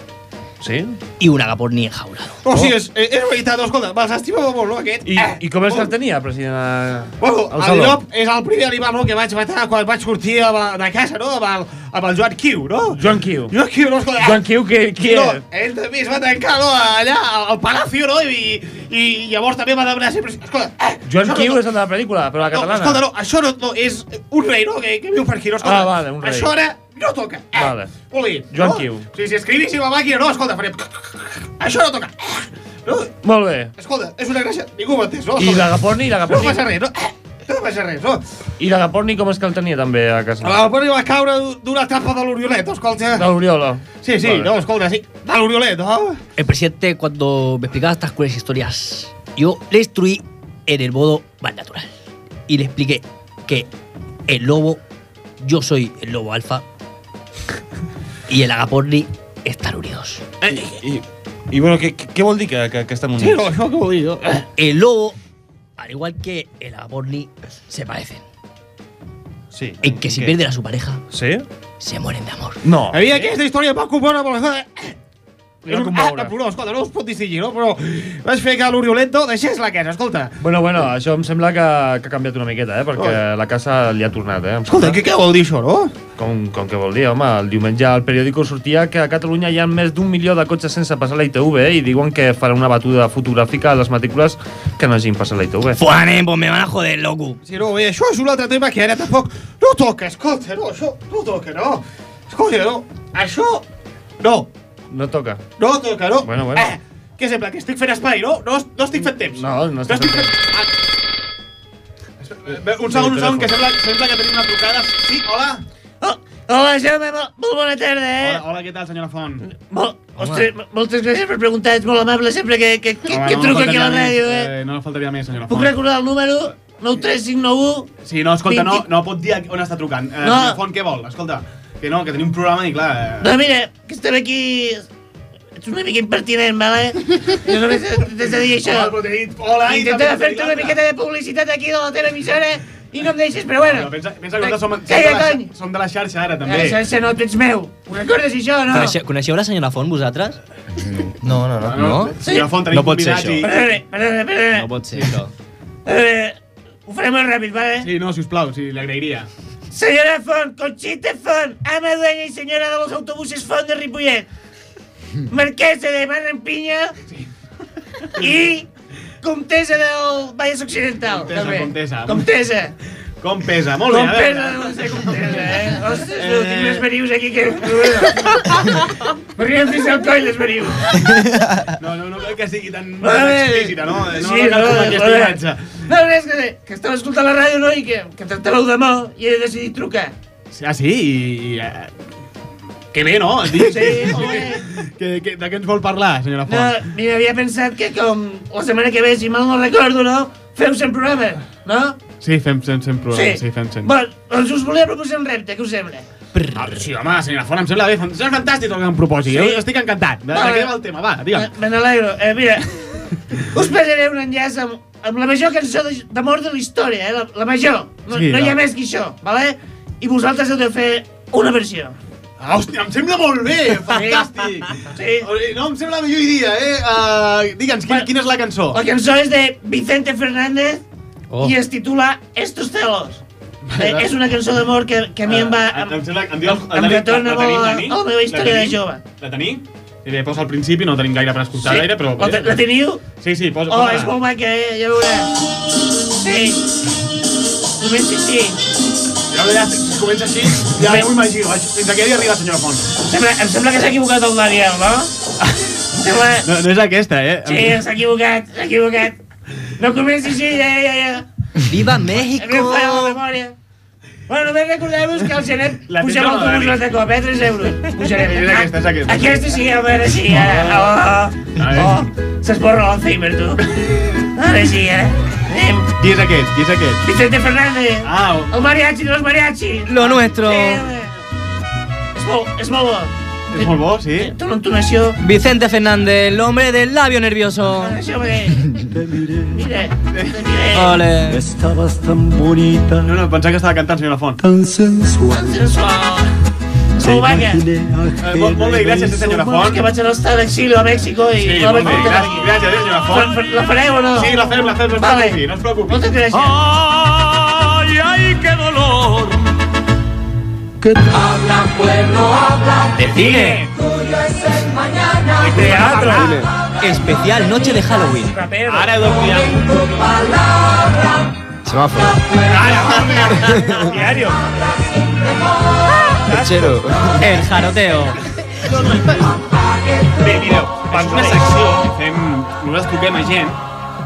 Sí?
y un agaporni enjaulado.
No, sí, és, eh, és veritat, no, escolta, me'ls estimava molt, no, aquest? Oh,
I, i com es tenia, president?
Bueno,
el
el
saló.
llop és el primer animal no, que vaig matar quan vaig sortir a la- de casa, no? Amb el, amb el Joan Quiu, no?
Joan Quiu.
Joan Quiu, no, escolta.
Joan Quiu, que- qui
no,
és?
ell també es va tancar, no? Allà, al, al Palacio, no? I, i llavors també va demanar sempre... Escolta, eh,
Joan
això
Quiu
no,
és el de la pel·lícula, però la
no,
catalana.
escolta, no, això no, no, és un rei, no? Que, que viu per aquí, no? Escolta,
Ah, vale, un rei.
Això ara no toca. Eh,
Vale.
molt bé,
Joan
no?
Quiu.
Sí, si escrivissin la màquina, no, escolta, farem... Això no toca.
Molt bé.
Escolta, és una gràcia. Ningú m'ha entès, no?
Oh.
I
Escolta,
l'agaporni, l'agaporni.
No passa res, no? eh, No passa res, no?
I l'agaporni com és que el tenia també a casa?
Ah.
La Poli va caure d'una trampa de l'Oriolet, escolta.
De l'Oriola.
Sí, sí,
Vale.
no, escolta, sí. De l'Oriolet, no?
El presidente, cuando me explicaba estas crueles historias, yo le instruí en el modo más natural. Y le expliqué que el lobo, yo soy el lobo alfa y el agaporni están unidos.
I, i bueno, què, què què vol dir que, que, que estem units?
això que eh. ho dic.
El lobo, al igual que el agaporni, se parecen.
Sí.
En que si
qué?
pierden a su pareja,
Sí?
se mueren de amor.
No.
Havia aquesta història va compoure amb la... És un ah, de plorós, escolta, no us pot distingir, no? Però vaig fer que l'Oriolet no deixés la casa, escolta.
Bueno, bueno, això em sembla que, que ha canviat una miqueta, eh? Perquè
Oi.
la casa li ha tornat, eh?
Escolta, què, què vol dir això, no?
Com, com que vol dir, home, el diumenge al periòdico sortia que a Catalunya hi ha més d'un milió de cotxes sense passar la ITV eh? i diuen que farà una batuda fotogràfica a les matrícules que no hagin passat la ITV.
Fuane, pues me van a joder, loco.
Sí, no, bé, això és un altre tema que ara tampoc... No toca, escolta, no, això no toca, no. Escolta, no, això... No,
No toca.
no toca, no.
Bueno, bueno.
Eh, què sembla, que estic fent espai, no? No, no estic fent temps.
No, no està...
estic fent... Ah. Un segon, un segon, que sembla, sembla que tenim una trucada. Sí, hola.
Oh, Hola, Jaume, molt, molt bona tarda, eh?
Hola, hola, què tal, senyora Font?
Molt, ostres, mo- moltes gràcies per preguntar, ets molt amable sempre que, que, que,
Home,
que
no
truco aquí
faltaria
a la ràdio, eh?
més, eh? No faltaria més, senyora
Puc
Font.
recordar el número? 93591?
Sí, no, escolta, no,
Vinti-
no pot dir on està trucant. Eh,
No.
senyora Font, què vol? Escolta, que no, que tenim un programa i clar... Eh...
Doncs mira, que estem aquí... Ets una mica impertinent, vale? Jo només t'he de dir això.
Hola, però t'he dit hola i
Intentava
també t'he dit
fer-te una
l'altra.
miqueta de publicitat aquí de la teva emissora i no em deixes, però bueno.
No, pensa, pensa que nosaltres som, som,
Calla,
de la,
cony!
xa- som de la xarxa ara, també.
També. Ja, sense no, tu ets meu. Ho recordes, això, o no?
Coneixeu, coneixeu la senyora Font, vosaltres?
No, no, no.
Senyora Font, tenim
no pot ser
convidats
això.
i-
Perdona, perdona, perdona.
No pot ser això.
Eh, ho faré molt ràpid, vale?
Sí, no, sisplau, sí, l'agrairia.
Senyora Font, Conchita Font, ama dueña y senyora de los autobuses Font de Ripollet, marquesa de Mar en Pinya i comtesa del Vallès Occidental.
Comtessa,
també.
comtessa.
Comtesa.
Com pesa, molt bé, a
Comtesa
veure.
de la comtesa, eh? Ostres,
Eh.
eh... tinc les verius aquí que... M'arriben fins al coll, les verius.
No, no, no cal que sigui tan,
Va
tan
bé.
explícita, no? No,
Sí,
no cal
no,
com aquesta
va bé.
imatge.
No, res, que, que estava escoltant la ràdio, no? I que, que tractàveu de mà i he decidit trucar.
Ah, sí? I... i eh, que bé, no? Sí,
Sí, home.
que, que, de què ens vol parlar, senyora
No,
Font?
mira, Eh, havia pensat que com la setmana que ve, si mal no recordo, no? Feu un programa, no?
Sí, fem, fem, fem programa,
Sí.
sí, fem, fem.
Bueno, doncs us volia proposar un repte, què us sembla?
Ah, sí, home, senyora Font, em sembla bé. Em sembla fantàstic el que em proposi.
Sí.
Jo estic encantat. De, de què va el tema? Va, digue'm.
Me- Me n'alegro. Eh, mira, us passaré un enllaç amb, amb la major cançó de- d'amor de, la història, eh? La, la major. No,
Sí,
no hi ha
va.
més que això, vale? I vosaltres heu de fer una versió.
Ah, hòstia, em sembla molt bé, fantàstic. sí. No, em sembla millor idea, eh? Uh, Digue'ns, quina, quina és la cançó?
La cançó és de Vicente Fernández
Oh.
i es titula Estos celos. Eh, és una cançó d'amor que, que a mi em va... Em, em,
sembla, Ah, em, diu el, el
em
Dani-
retorna
la- la tenim,
molt a,
Dani?
a la meva història de
tenim?
jove.
La tenim? Eh, posa al principi, no tenim gaire per escoltar
Sí.
gaire, però...
La te- la teniu?
Sí, sí, posa...
Oh,
posa
és molt maca, eh? Ja veuràs. Sí. Comença així.
Ja veuràs, si comença així, ja m'ho imagino. vaig- Fins aquí havia arribat, senyora Font.
Sembla, em sembla que s'ha equivocat el Daniel, no? Sembla...
No, no és aquesta, eh?
Sí, s'ha equivocat, s'ha equivocat. No comenci així, ja, ja, ja.
Viva
México! Em falla la memòria. Bueno, només recordeu-vos que el genet
La
puja
tens
molt
a la
autobús
Dani.
l'altre cop, eh? 3 euros. Pujarem.
És aquesta, és aquesta.
Aquesta sí, a veure si sí, ara. Oh, oh, oh. S'esborra l'Alzheimer, tu. Ara sí, eh? Anem.
Qui és aquest? Qui és aquest?
Vicente Fernández. Ah,
oh,
el mariachi de los mariachis.
Lo nuestro.
Sí, home. és molt, és molt bo.
És molt bo, sí.
Té una entonació...
Vicente Fernández, el hombre del labio nervioso.
Això, bé. Mira,
Ole.
Estabas tan bonita. No, no, pensava que estava cantant, senyora Font.
Tan sensual.
sensual. Molt maca.
Eh, molt, molt bé, gràcies, senyora Font.
Que vaig anar a estar d'exili a Mèxico i...
Sí,
la
molt bé,
vaig portar
gràcies,
aquí.
gràcies, eh, senyora Font.
Fa- fa- La fareu o no?
Sí, la fem, la fem, no es
Vale.
preocupi, no es preocupi.
Moltes gràcies.
Ai, ai, que dolor. Que habla pueblo, habla
de cine.
Teatro.
Especial Noche de Halloween.
Ara heu de cuidar.
Semáforo.
Diario.
Pechero.
El jaroteo.
Bé, mireu, és una secció que fem... Nosaltres truquem a gent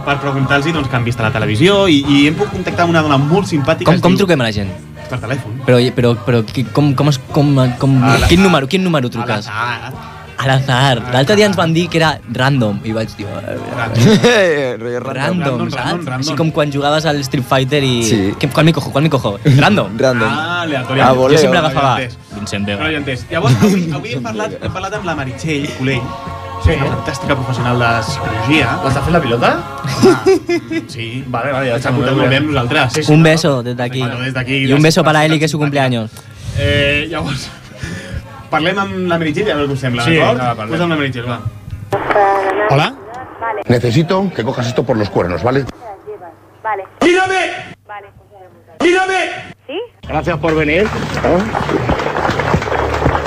per preguntar-los doncs, que han vist a la televisió i, i hem pogut contactar amb una dona molt simpàtica.
Com, com truquem a la gent?
Per telèfon.
Però, però, però qui- com, com, es, com, com,
A la-
quin número, quin número truques?
Ah,
A l'azar. L'altre dia ens van dir que era random i vaig dir... Ah,
Eh,
Random,
random, saps?
random.
Així com quan jugaves al Street Fighter i...
Sí.
Que, ¿Cuál me cojo? ¿Cuál me cojo? Random.
Random.
Ah,
Ah,
aleatòriament.
voleo. Jo sempre agafava
Vincent Vega. No l'he entès. Llavors, avui, avui hem, parlat, hem parlat amb la Meritxell Colell, sí. una fantàstica professional de psicologia.
Ah,
L'està fent la pilota? sí. Vale, vale, ja s'ha portat molt bé amb nosaltres.
Un beso desde aquí.
Bueno, desde aquí,
Y un
gracias
beso
por
para
estar
Eli, que es su cumpleaños.
Eh, llavors, parlem amb la Meritxell, a veure què us sembla,
Sí, Ah, va,
d'acord?
parlem.
Posa'm la Meritxell, va.
Hola. Necesito que cojas esto por los cuernos, ¿vale?
Vale.
¡Mírame!
Vale.
¡Mírame!
¿Sí?
Gracias por venir.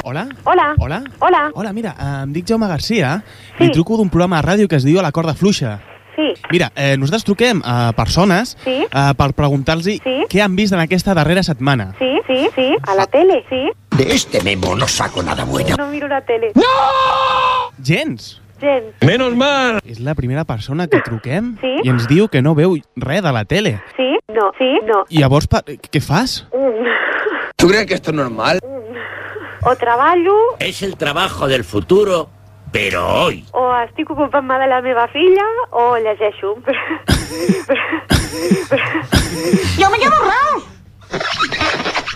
Hola?
Hola.
Hola?
Ah, Hola.
Hola, mira, eh, em dic Jaume Garcia sí. i truco d'un programa de ràdio que es diu A la corda fluixa.
Sí.
Mira, eh, nosaltres truquem a persones
Sí.
eh, per preguntar-los què han vist en aquesta darrera setmana.
Sí, sí, sí. A la tele, sí.
De este memo no saco nada bueno.
No miro la tele. ¡No!
Gens.
Jen.
Menos mal. És la primera persona que truquem
Sí.
i ens diu que no veu res de la tele.
Sí, no, sí, no.
I llavors, pa, eh, què fas?
Mm.
Tu creus que esto és normal?
O treballo,
Es el trabajo del futuro, pero hoy.
o estic ocupant-me de la meva filla, o llegeixo. jo me llamo Raúl.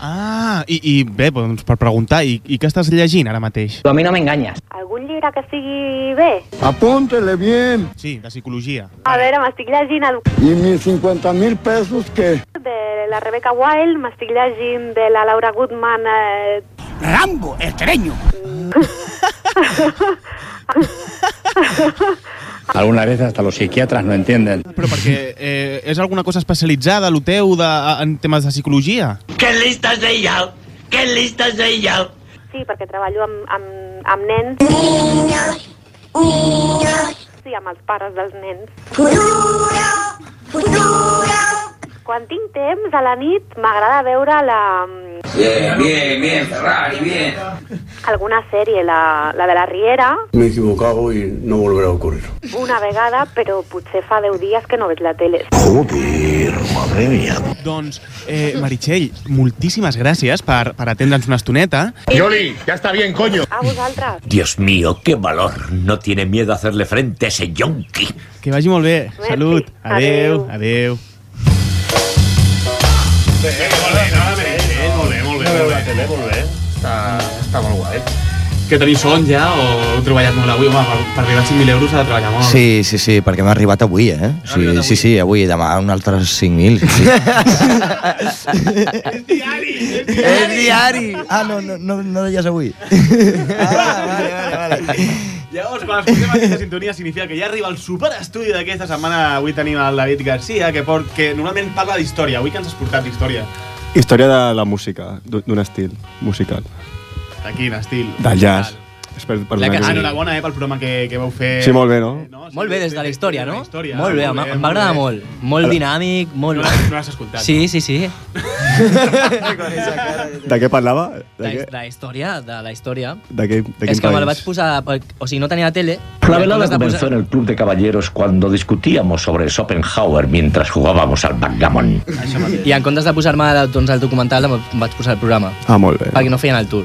Ah, i, i bé, doncs per preguntar, i, i què estàs llegint ara mateix? Tu a mi no m'enganyes.
Algun llibre que estigui bé?
Apúntele bien. Sí, de psicologia.
A veure, m'estic llegint el...
I mis 50.000 pesos que...
de la Rebecca Wild, m'estic llegint de la Laura Goodman... Eh...
Rambo, el tereño.
Algunas veces hasta los psiquiatras no entienden.
Però perquè eh, és alguna cosa especialitzada, lo teu, de, en temes de psicologia?
¡Qué lista soy yo! ¡Qué lista soy yo!
Sí, perquè treballo amb, amb, amb nens. Niños, niños. Sí, amb els pares dels nens. Futuro, futuro. Quan tinc temps, a la nit, m'agrada veure la,
Bien, bien, bien, Ferrari, bien.
alguna sèrie, la, la de la Riera,
Me he equivocado y no volverá a ocurrir.
una vegada, però potser fa 10 dies que no veig la tele.
Joder, madre mía.
Doncs, eh, Meritxell, moltíssimes gràcies per, per atendre'ns una estoneta.
¡Yoli! ¡Ya está bien, coño!
A vosaltres.
Dios mío, qué valor. No tiene miedo a hacerle frente a ese yonki.
Que vagi molt bé. Salut. Adeu. Adeu.
Molt bé, molt bé, molt bé. Està, està molt guai.
Que tenim son ja o... heu treballat molt avui, home, per, per arribar a 5.000 euros s'ha de treballar molt.
Sí, sí, sí, perquè m'ha arribat avui, eh? Sí, sí, sí, avui, demà un altre 5.000. Sí,
El
diari! Ah, no, no, no, no deies avui.
Llavors, quan escoltem aquesta sintonia significa que ja arriba el superestudi d'aquesta setmana. Avui tenim el David Garcia, que, port, que normalment parla d'història. Avui que ens has portat d'història.
Història de la música, d'un d'un estil musical.
De quin estil?
Del jazz. Espera,
La
perdona,
que,
que-
ah, enhorabona, eh, pel programa que, que vau fer.
Sí, molt bé, no?
Molt bé, des de la història, no?
història,
Molt bé,
molt
em-
bé,
em va agradar
molt
molt. Molt dinàmic, molt...
No l'has escoltat.
Sí, sí, sí.
De què parlava?
De, de la història, de la història.
De què, de quin
És que me la
país?
vaig posar... per- O sigui, no tenia tele.
La
me
velada
vaig
comenzó en el Club de Caballeros cuando discutíamos sobre Schopenhauer mientras jugábamos al backgammon.
I en comptes de posar-me doncs, el documental, em vaig posar el programa.
Ah, molt bé.
Perquè no feien el tour.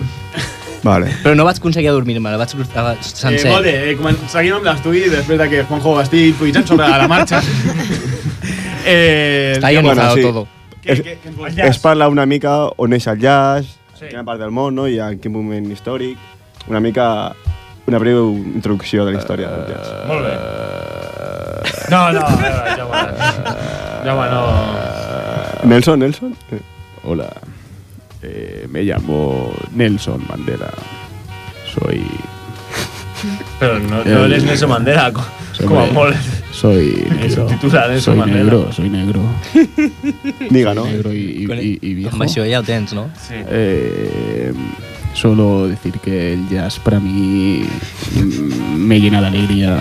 Vale.
Però no vaig aconseguir dormir-me, el vaig portar
Eh,
sencer.
molt bé, eh, comen- seguim amb l'estudi després de que Juanjo estigui improvisant sobre la marxa. eh,
Està ionizado todo.
Què, què, què ens
Pues
vols dir?
És parlar una mica on és el jazz, sí. en quina part del món, no? I en quin moment històric. Una mica una breu introducció de la història del jazz.
Molt bé. No, no, a veure, Jaume. Jaume, no.
Nelson, Nelson. Eh, Hola. Eh, me llamo Nelson Mandela. Soy.
Pero no,
El-
no eres Nelson Mandela, co-
Eh, Soy
como
ne-
mol.
Soy negro.
Subtitula Nelson
soy
Mandela.
negro, soy negro. Diga, ¿no?
Amb això ja ho tens, no? Sí.
Eh, solo decir que el jazz para mí mm, me llena de alegría.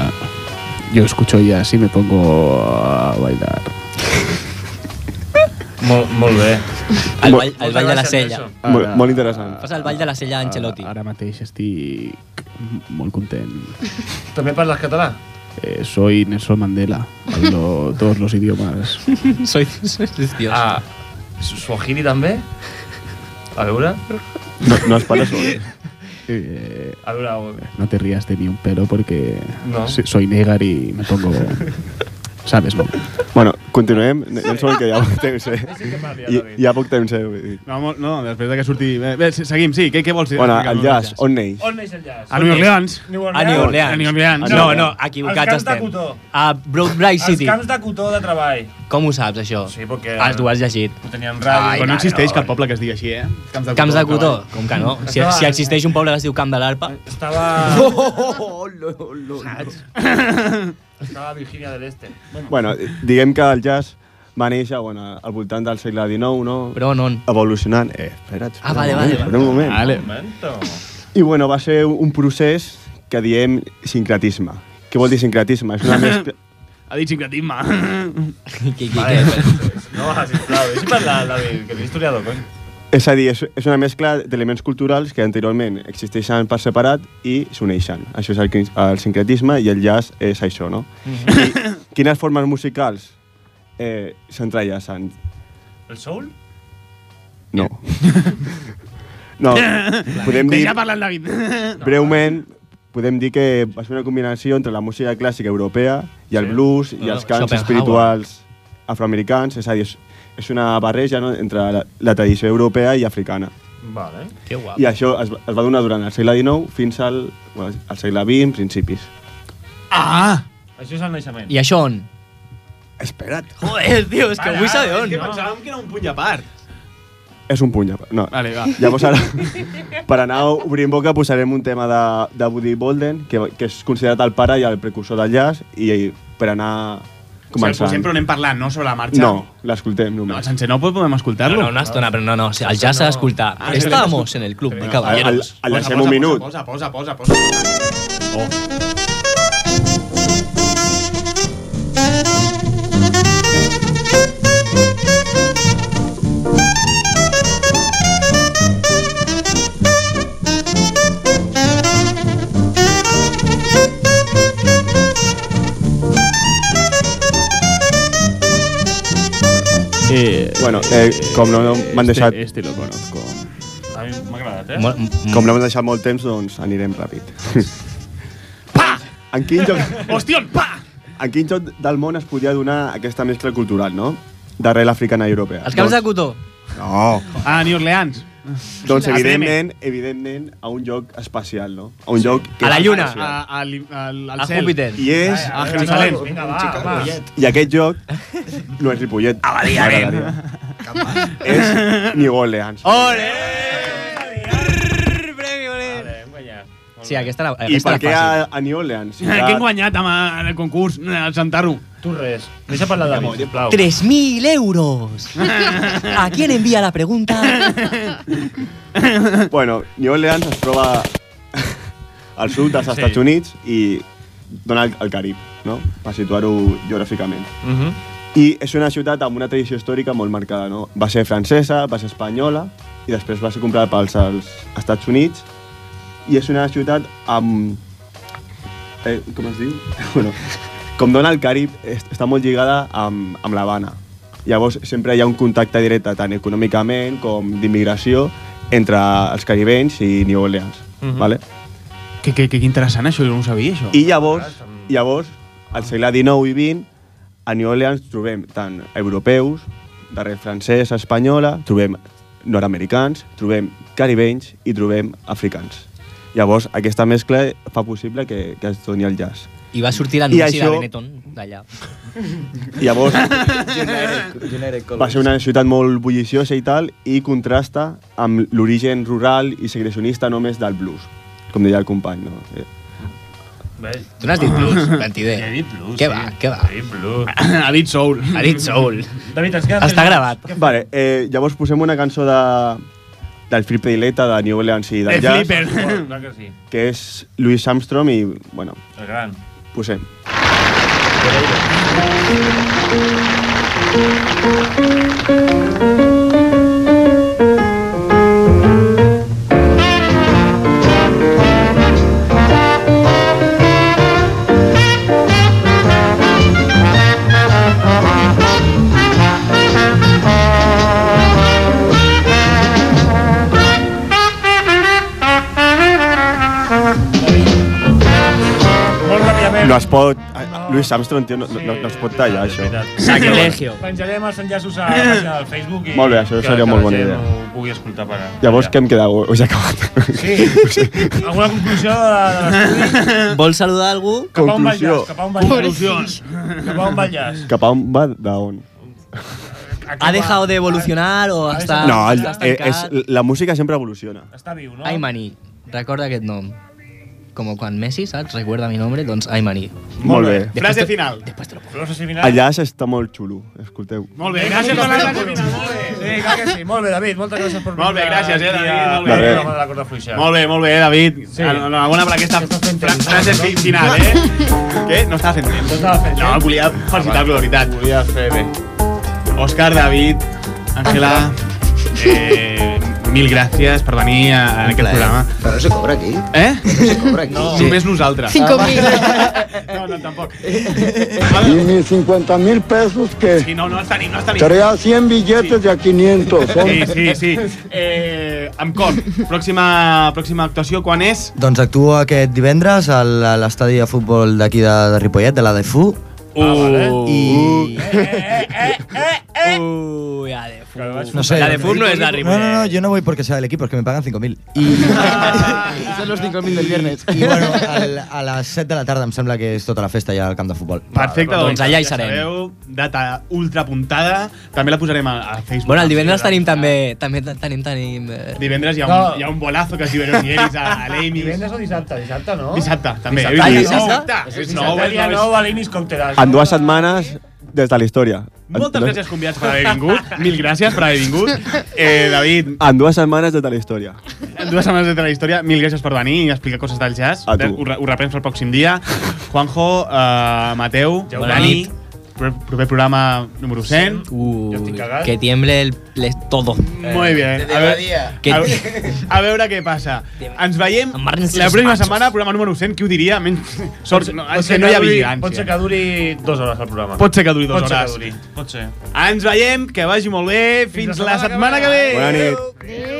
Yo escucho jazz y me pongo a bailar.
Molt, molt bé.
El ball, el ball de la sella.
Ah,
Molt, molt interessant.
Fas el ball de la sella Ancelotti.
Ara mateix estic molt content.
També parles català?
Eh, soy Nelson Mandela. Hablo todos los idiomas.
Soy, soy Dios.
Ah, su- Swahili també? A veure...
No, no ¿eh? es para eso.
A veure...
No te rías de ni un pelo porque
No.
so- soy negar y me pongo... Sabes, no? Bueno, continuem. Nelson, que ja poc temps, eh? Ja, ja poc temps, eh? Vull dir.
No, molt- no, després de que surti... Bé, bé se- seguim, sí, què, què vols dir?
Bueno,
Explicar-nos
el jazz, on neix?
On neix el jazz?
A New Orleans.
A New Orleans.
A New Orleans.
No, no, equivocats
Als camps de
estem.
cotó.
A Broadbright
Els
City.
camps de cotó de treball.
Com ho saps, això?
Sí, eh, pues perquè...
Has, ho has llegit.
Ho teníem ràdio.
Però no existeix cap poble que es digui així, eh? Camps
Camps de cotó? Com que no? Si,
Estava-
si existeix un poble que es diu Camp de l'Arpa...
Estava a Virgínia de l'Este. Bueno,
Bueno, diguem que el jazz va néixer bueno, al voltant del segle XIX, no?
Però on?
Evolucionant. Eh, espera't. espera
Ah, vale,
un
vale,
moment,
vale.
espera Un moment.
Vale.
I bueno, va ser un procés que diem sincretisme. Què vol dir sincretisme? És una mescla...
Ha dit sincretisme.
Qui,
vale. No, sisplau, deixi parlar, David, que és historiador, cony.
És a dir, és, és una mescla d'elements culturals que anteriorment existeixen per separat i s'uneixen. Això és el, crin- el sincretisme i el jazz és això, no? I quines formes musicals eh, s'entrellacen?
El soul?
No. no, podem dir...
Deixa parlar el David.
Breument, podem dir que va ser una combinació entre la música clàssica europea i el blues i
Ah,
els cants
Schopenhauer.
espirituals afroamericans, és a dir, és- és una barreja no, entre la, la tradició europea i africana.
Vale. Que guapo.
I això es, va- es va donar durant el segle XIX fins al, bueno, al segle XX, principis.
Ah!
Això és el naixement.
I això on?
Espera't.
Joder, tio, és que
Para,
vull saber
eh,
on.
És que pensàvem que era un puny a part.
És un puny. No.
Vale, va.
Llavors ara, per anar obrint boca, posarem un tema de, de Woody Bolden, que, que és considerat el pare i el precursor del jazz, i, i per anar
Començant.
començant.
Sempre anem parlant, no?, sobre la marxa.
No, l'escoltem
No,
només.
sense no podem escoltar-lo.
No, una estona, però no, no, el jazz s'ha d'escoltar.
Ah,
Estamos en el club de caballeros.
El, el deixem un minut.
Posa, posa, posa, posa.
Oh. Bueno, eh, com no m'han deixat... Este, lo conozco.
A mi m'ha agradat, eh?
Com no m'han deixat molt temps, doncs anirem ràpid. pa! En quin lloc...
Hòstion, pa!
En quin lloc del món es podia donar aquesta mescla cultural, no? D'arrel africana i europea. Doncs-
Els camps de cotó.
No.
Ah, New Orleans.
Doncs,
Estem-hi.
evidentment, evidentment, a un lloc espacial, no? A un lloc...
A la lluna. Ah.
espacial.
A- al- al- al
A
cel.
Júpiter. I és-
A Jerusalem.
Vinga,
va, va.
ah.
I aquest lloc no és Ripollet. A
eh?
És New Orleans.
Ole!
Eh,
Sí, aquesta la,
I per
aquesta la
què
fàcil.
a, a New Orleans?
Que hem guanyat amb el concurs, el Santarro.
Tu res. Deixa parlar David, sisplau.
3.000 euros. ¿A quién envía la pregunta?
bueno, New Orleans es troba al sud dels
Sí.
Estats Units i dona al, al Carib, no? per situar-ho geogràficament.
Mhm.
Mm-hmm. I és una ciutat amb una tradició històrica molt marcada. No? Va ser francesa, va ser espanyola i després va ser comprada pels als Estats Units i és una ciutat amb... Eh, com es diu? bueno, com dona el Carib, es- està molt lligada amb, amb l'Havana. Llavors, sempre hi ha un contacte directe, tant econòmicament com d'immigració, entre els caribenys i New Orleans.
Mhm.
vale?
Que, que, que interessant, això, jo no ho sabia, això.
I llavors, llavors, al segle XIX i XX, a New Orleans trobem tant europeus, darrer francès, espanyola, trobem nord-americans, trobem caribenys i trobem africans. Llavors, aquesta mescla fa possible que, que es doni el jazz.
I va sortir la
I
Núcia de
això-
Benetton d'allà.
Llavors,
Generic
va ser una ciutat molt bulliciosa i tal, i contrasta amb l'origen rural i segregacionista només del blues, com deia el company. No? Eh,
Tu n'has dit blues, mentider.
He dit Ah. blues,
Què va, què va?
He dit blues.
ha dit soul.
Ha dit soul.
David, ens queden
Està
tres
gravat.
Vale, eh, llavors posem una cançó de, del Flip Dileta de New Orleans i del
De
jazz,
Flipper. Oh, clar que sí.
que és Louis Armstrong i, bueno,
El gran.
posem. No es pot... ah, Louis Armstrong, tio, no, no, no es pot tallar, això.
Sacrilegio. Penjarem els enllaços a la pàgina del Facebook i
Molt bé, això
que-
seria
que
molt
la
bona
gent
idea.
Ho pugui escoltar per
Llavors, què em queda? Ho, us he acabat.
Sí. Alguna conclusió de, de l'estudi?
Vols saludar algú?
Cap a on va el
Conclusió.
llaç? Cap a on va el llaç? Cap
Cap a
a on va el llaç?
on va? D'on?
¿Ha dejado de evolucionar o està,
No, el,
està
eh, és,
estancat?
la música sempre evoluciona.
Està viu, no?
Aymani, recorda aquest nom. Com quan Messi, saps? Recuerda mi nombre, doncs Aymani.
Molt bé.
Frase final.
Frase final.
El jazz està molt xulo, escolteu.
Molt bé, gràcies per la frase final.
Molt bé. Sí, clar que sí. Molt bé, David, moltes gràcies per
Molt bé, gràcies, eh, David, molt bé.
Molt bé. De la corda fluixa.
Molt bé, molt bé, David. Sí. Enhorabona per aquesta fra- frase fi- final, eh? Què? No estava fent temps. No
estava eh? fent
No, volia felicitar-lo, de veritat. Volia fer bé. Òscar, David, Àngela, eh, mil gràcies per venir a, a aquest programa.
Però no se cobra aquí.
Eh? No se cobra aquí. No, només nosaltres.
No, no, tampoc.
Y mis 50 mil pesos
Sí,
que
no, no els tenim, no els tenim.
sería 100 billetes de a 500.
eh?
Son
Sí, sí, sí. Eh, amb Cor, pròxima, pròxima actuació, quan és?
Doncs actuo aquest divendres a l- a l'estadi de futbol d'aquí de, de Ripollet, de la DFU.
Uh, ah, vale.
I...
Uy, la de fútbol.
No sé.
La de fútbol no es la
No, no,
Ripollet.
no, yo no voy porque sea del equipo, es que me pagan 5.000.
Son los 5.000 del viernes.
I bueno, al, a les 7 de la tarda em sembla que és tota la festa ja al camp de futbol.
Perfecte, doncs,
Doncs allà hi
ja
serem.
Sabeu, data ultra apuntada. També la posarem a, a Facebook.
Ah,
Bueno, el divendres tenim també... també te- tenim, tenim... eh,
Divendres hi ha, un,
No.
hi ha un bolazo que es diu Eros a, a l'Amis.
Divendres o dissabte? Dissabte, no?
Dissabte, també.
Dissabte,
Ui,
dissabte.
no,
És
és nou,
dissabte,
és
dia
nou, és-
9 a l'Imis Cocktail.
En dues setmanes des de la història.
Moltes gràcies convidats per haver vingut. Mil gràcies per haver vingut. Eh, David,
En dues setmanes des de la història.
en dues setmanes de la història, mil gràcies per venir i explicar coses del jazz.
A tu.
Ho, re- ho reprens pel pròxim dia. Juanjo, eh, Mateu,
Jaume.
Dani, pro- proper programa número 100.
Uy, que tiemble el, el- todo.
Muy bien.
Desde
A ver-
Badía.
a ver- a veure què passa. Ens veiem
Marnes
la
els
pròxima
machos.
setmana, programa número 100, qui ho diria? Menys, sort, no,
Pot
és
ser
que no hi ha
duri- Pot ser
vigilància.
que duri dues hores el programa.
Pot ser que duri dues
Pot ser
hores.
que duri, Pot ser.
Ens veiem, que vagi molt bé, fins la setmana que ve.
Bona nit.
Adéu.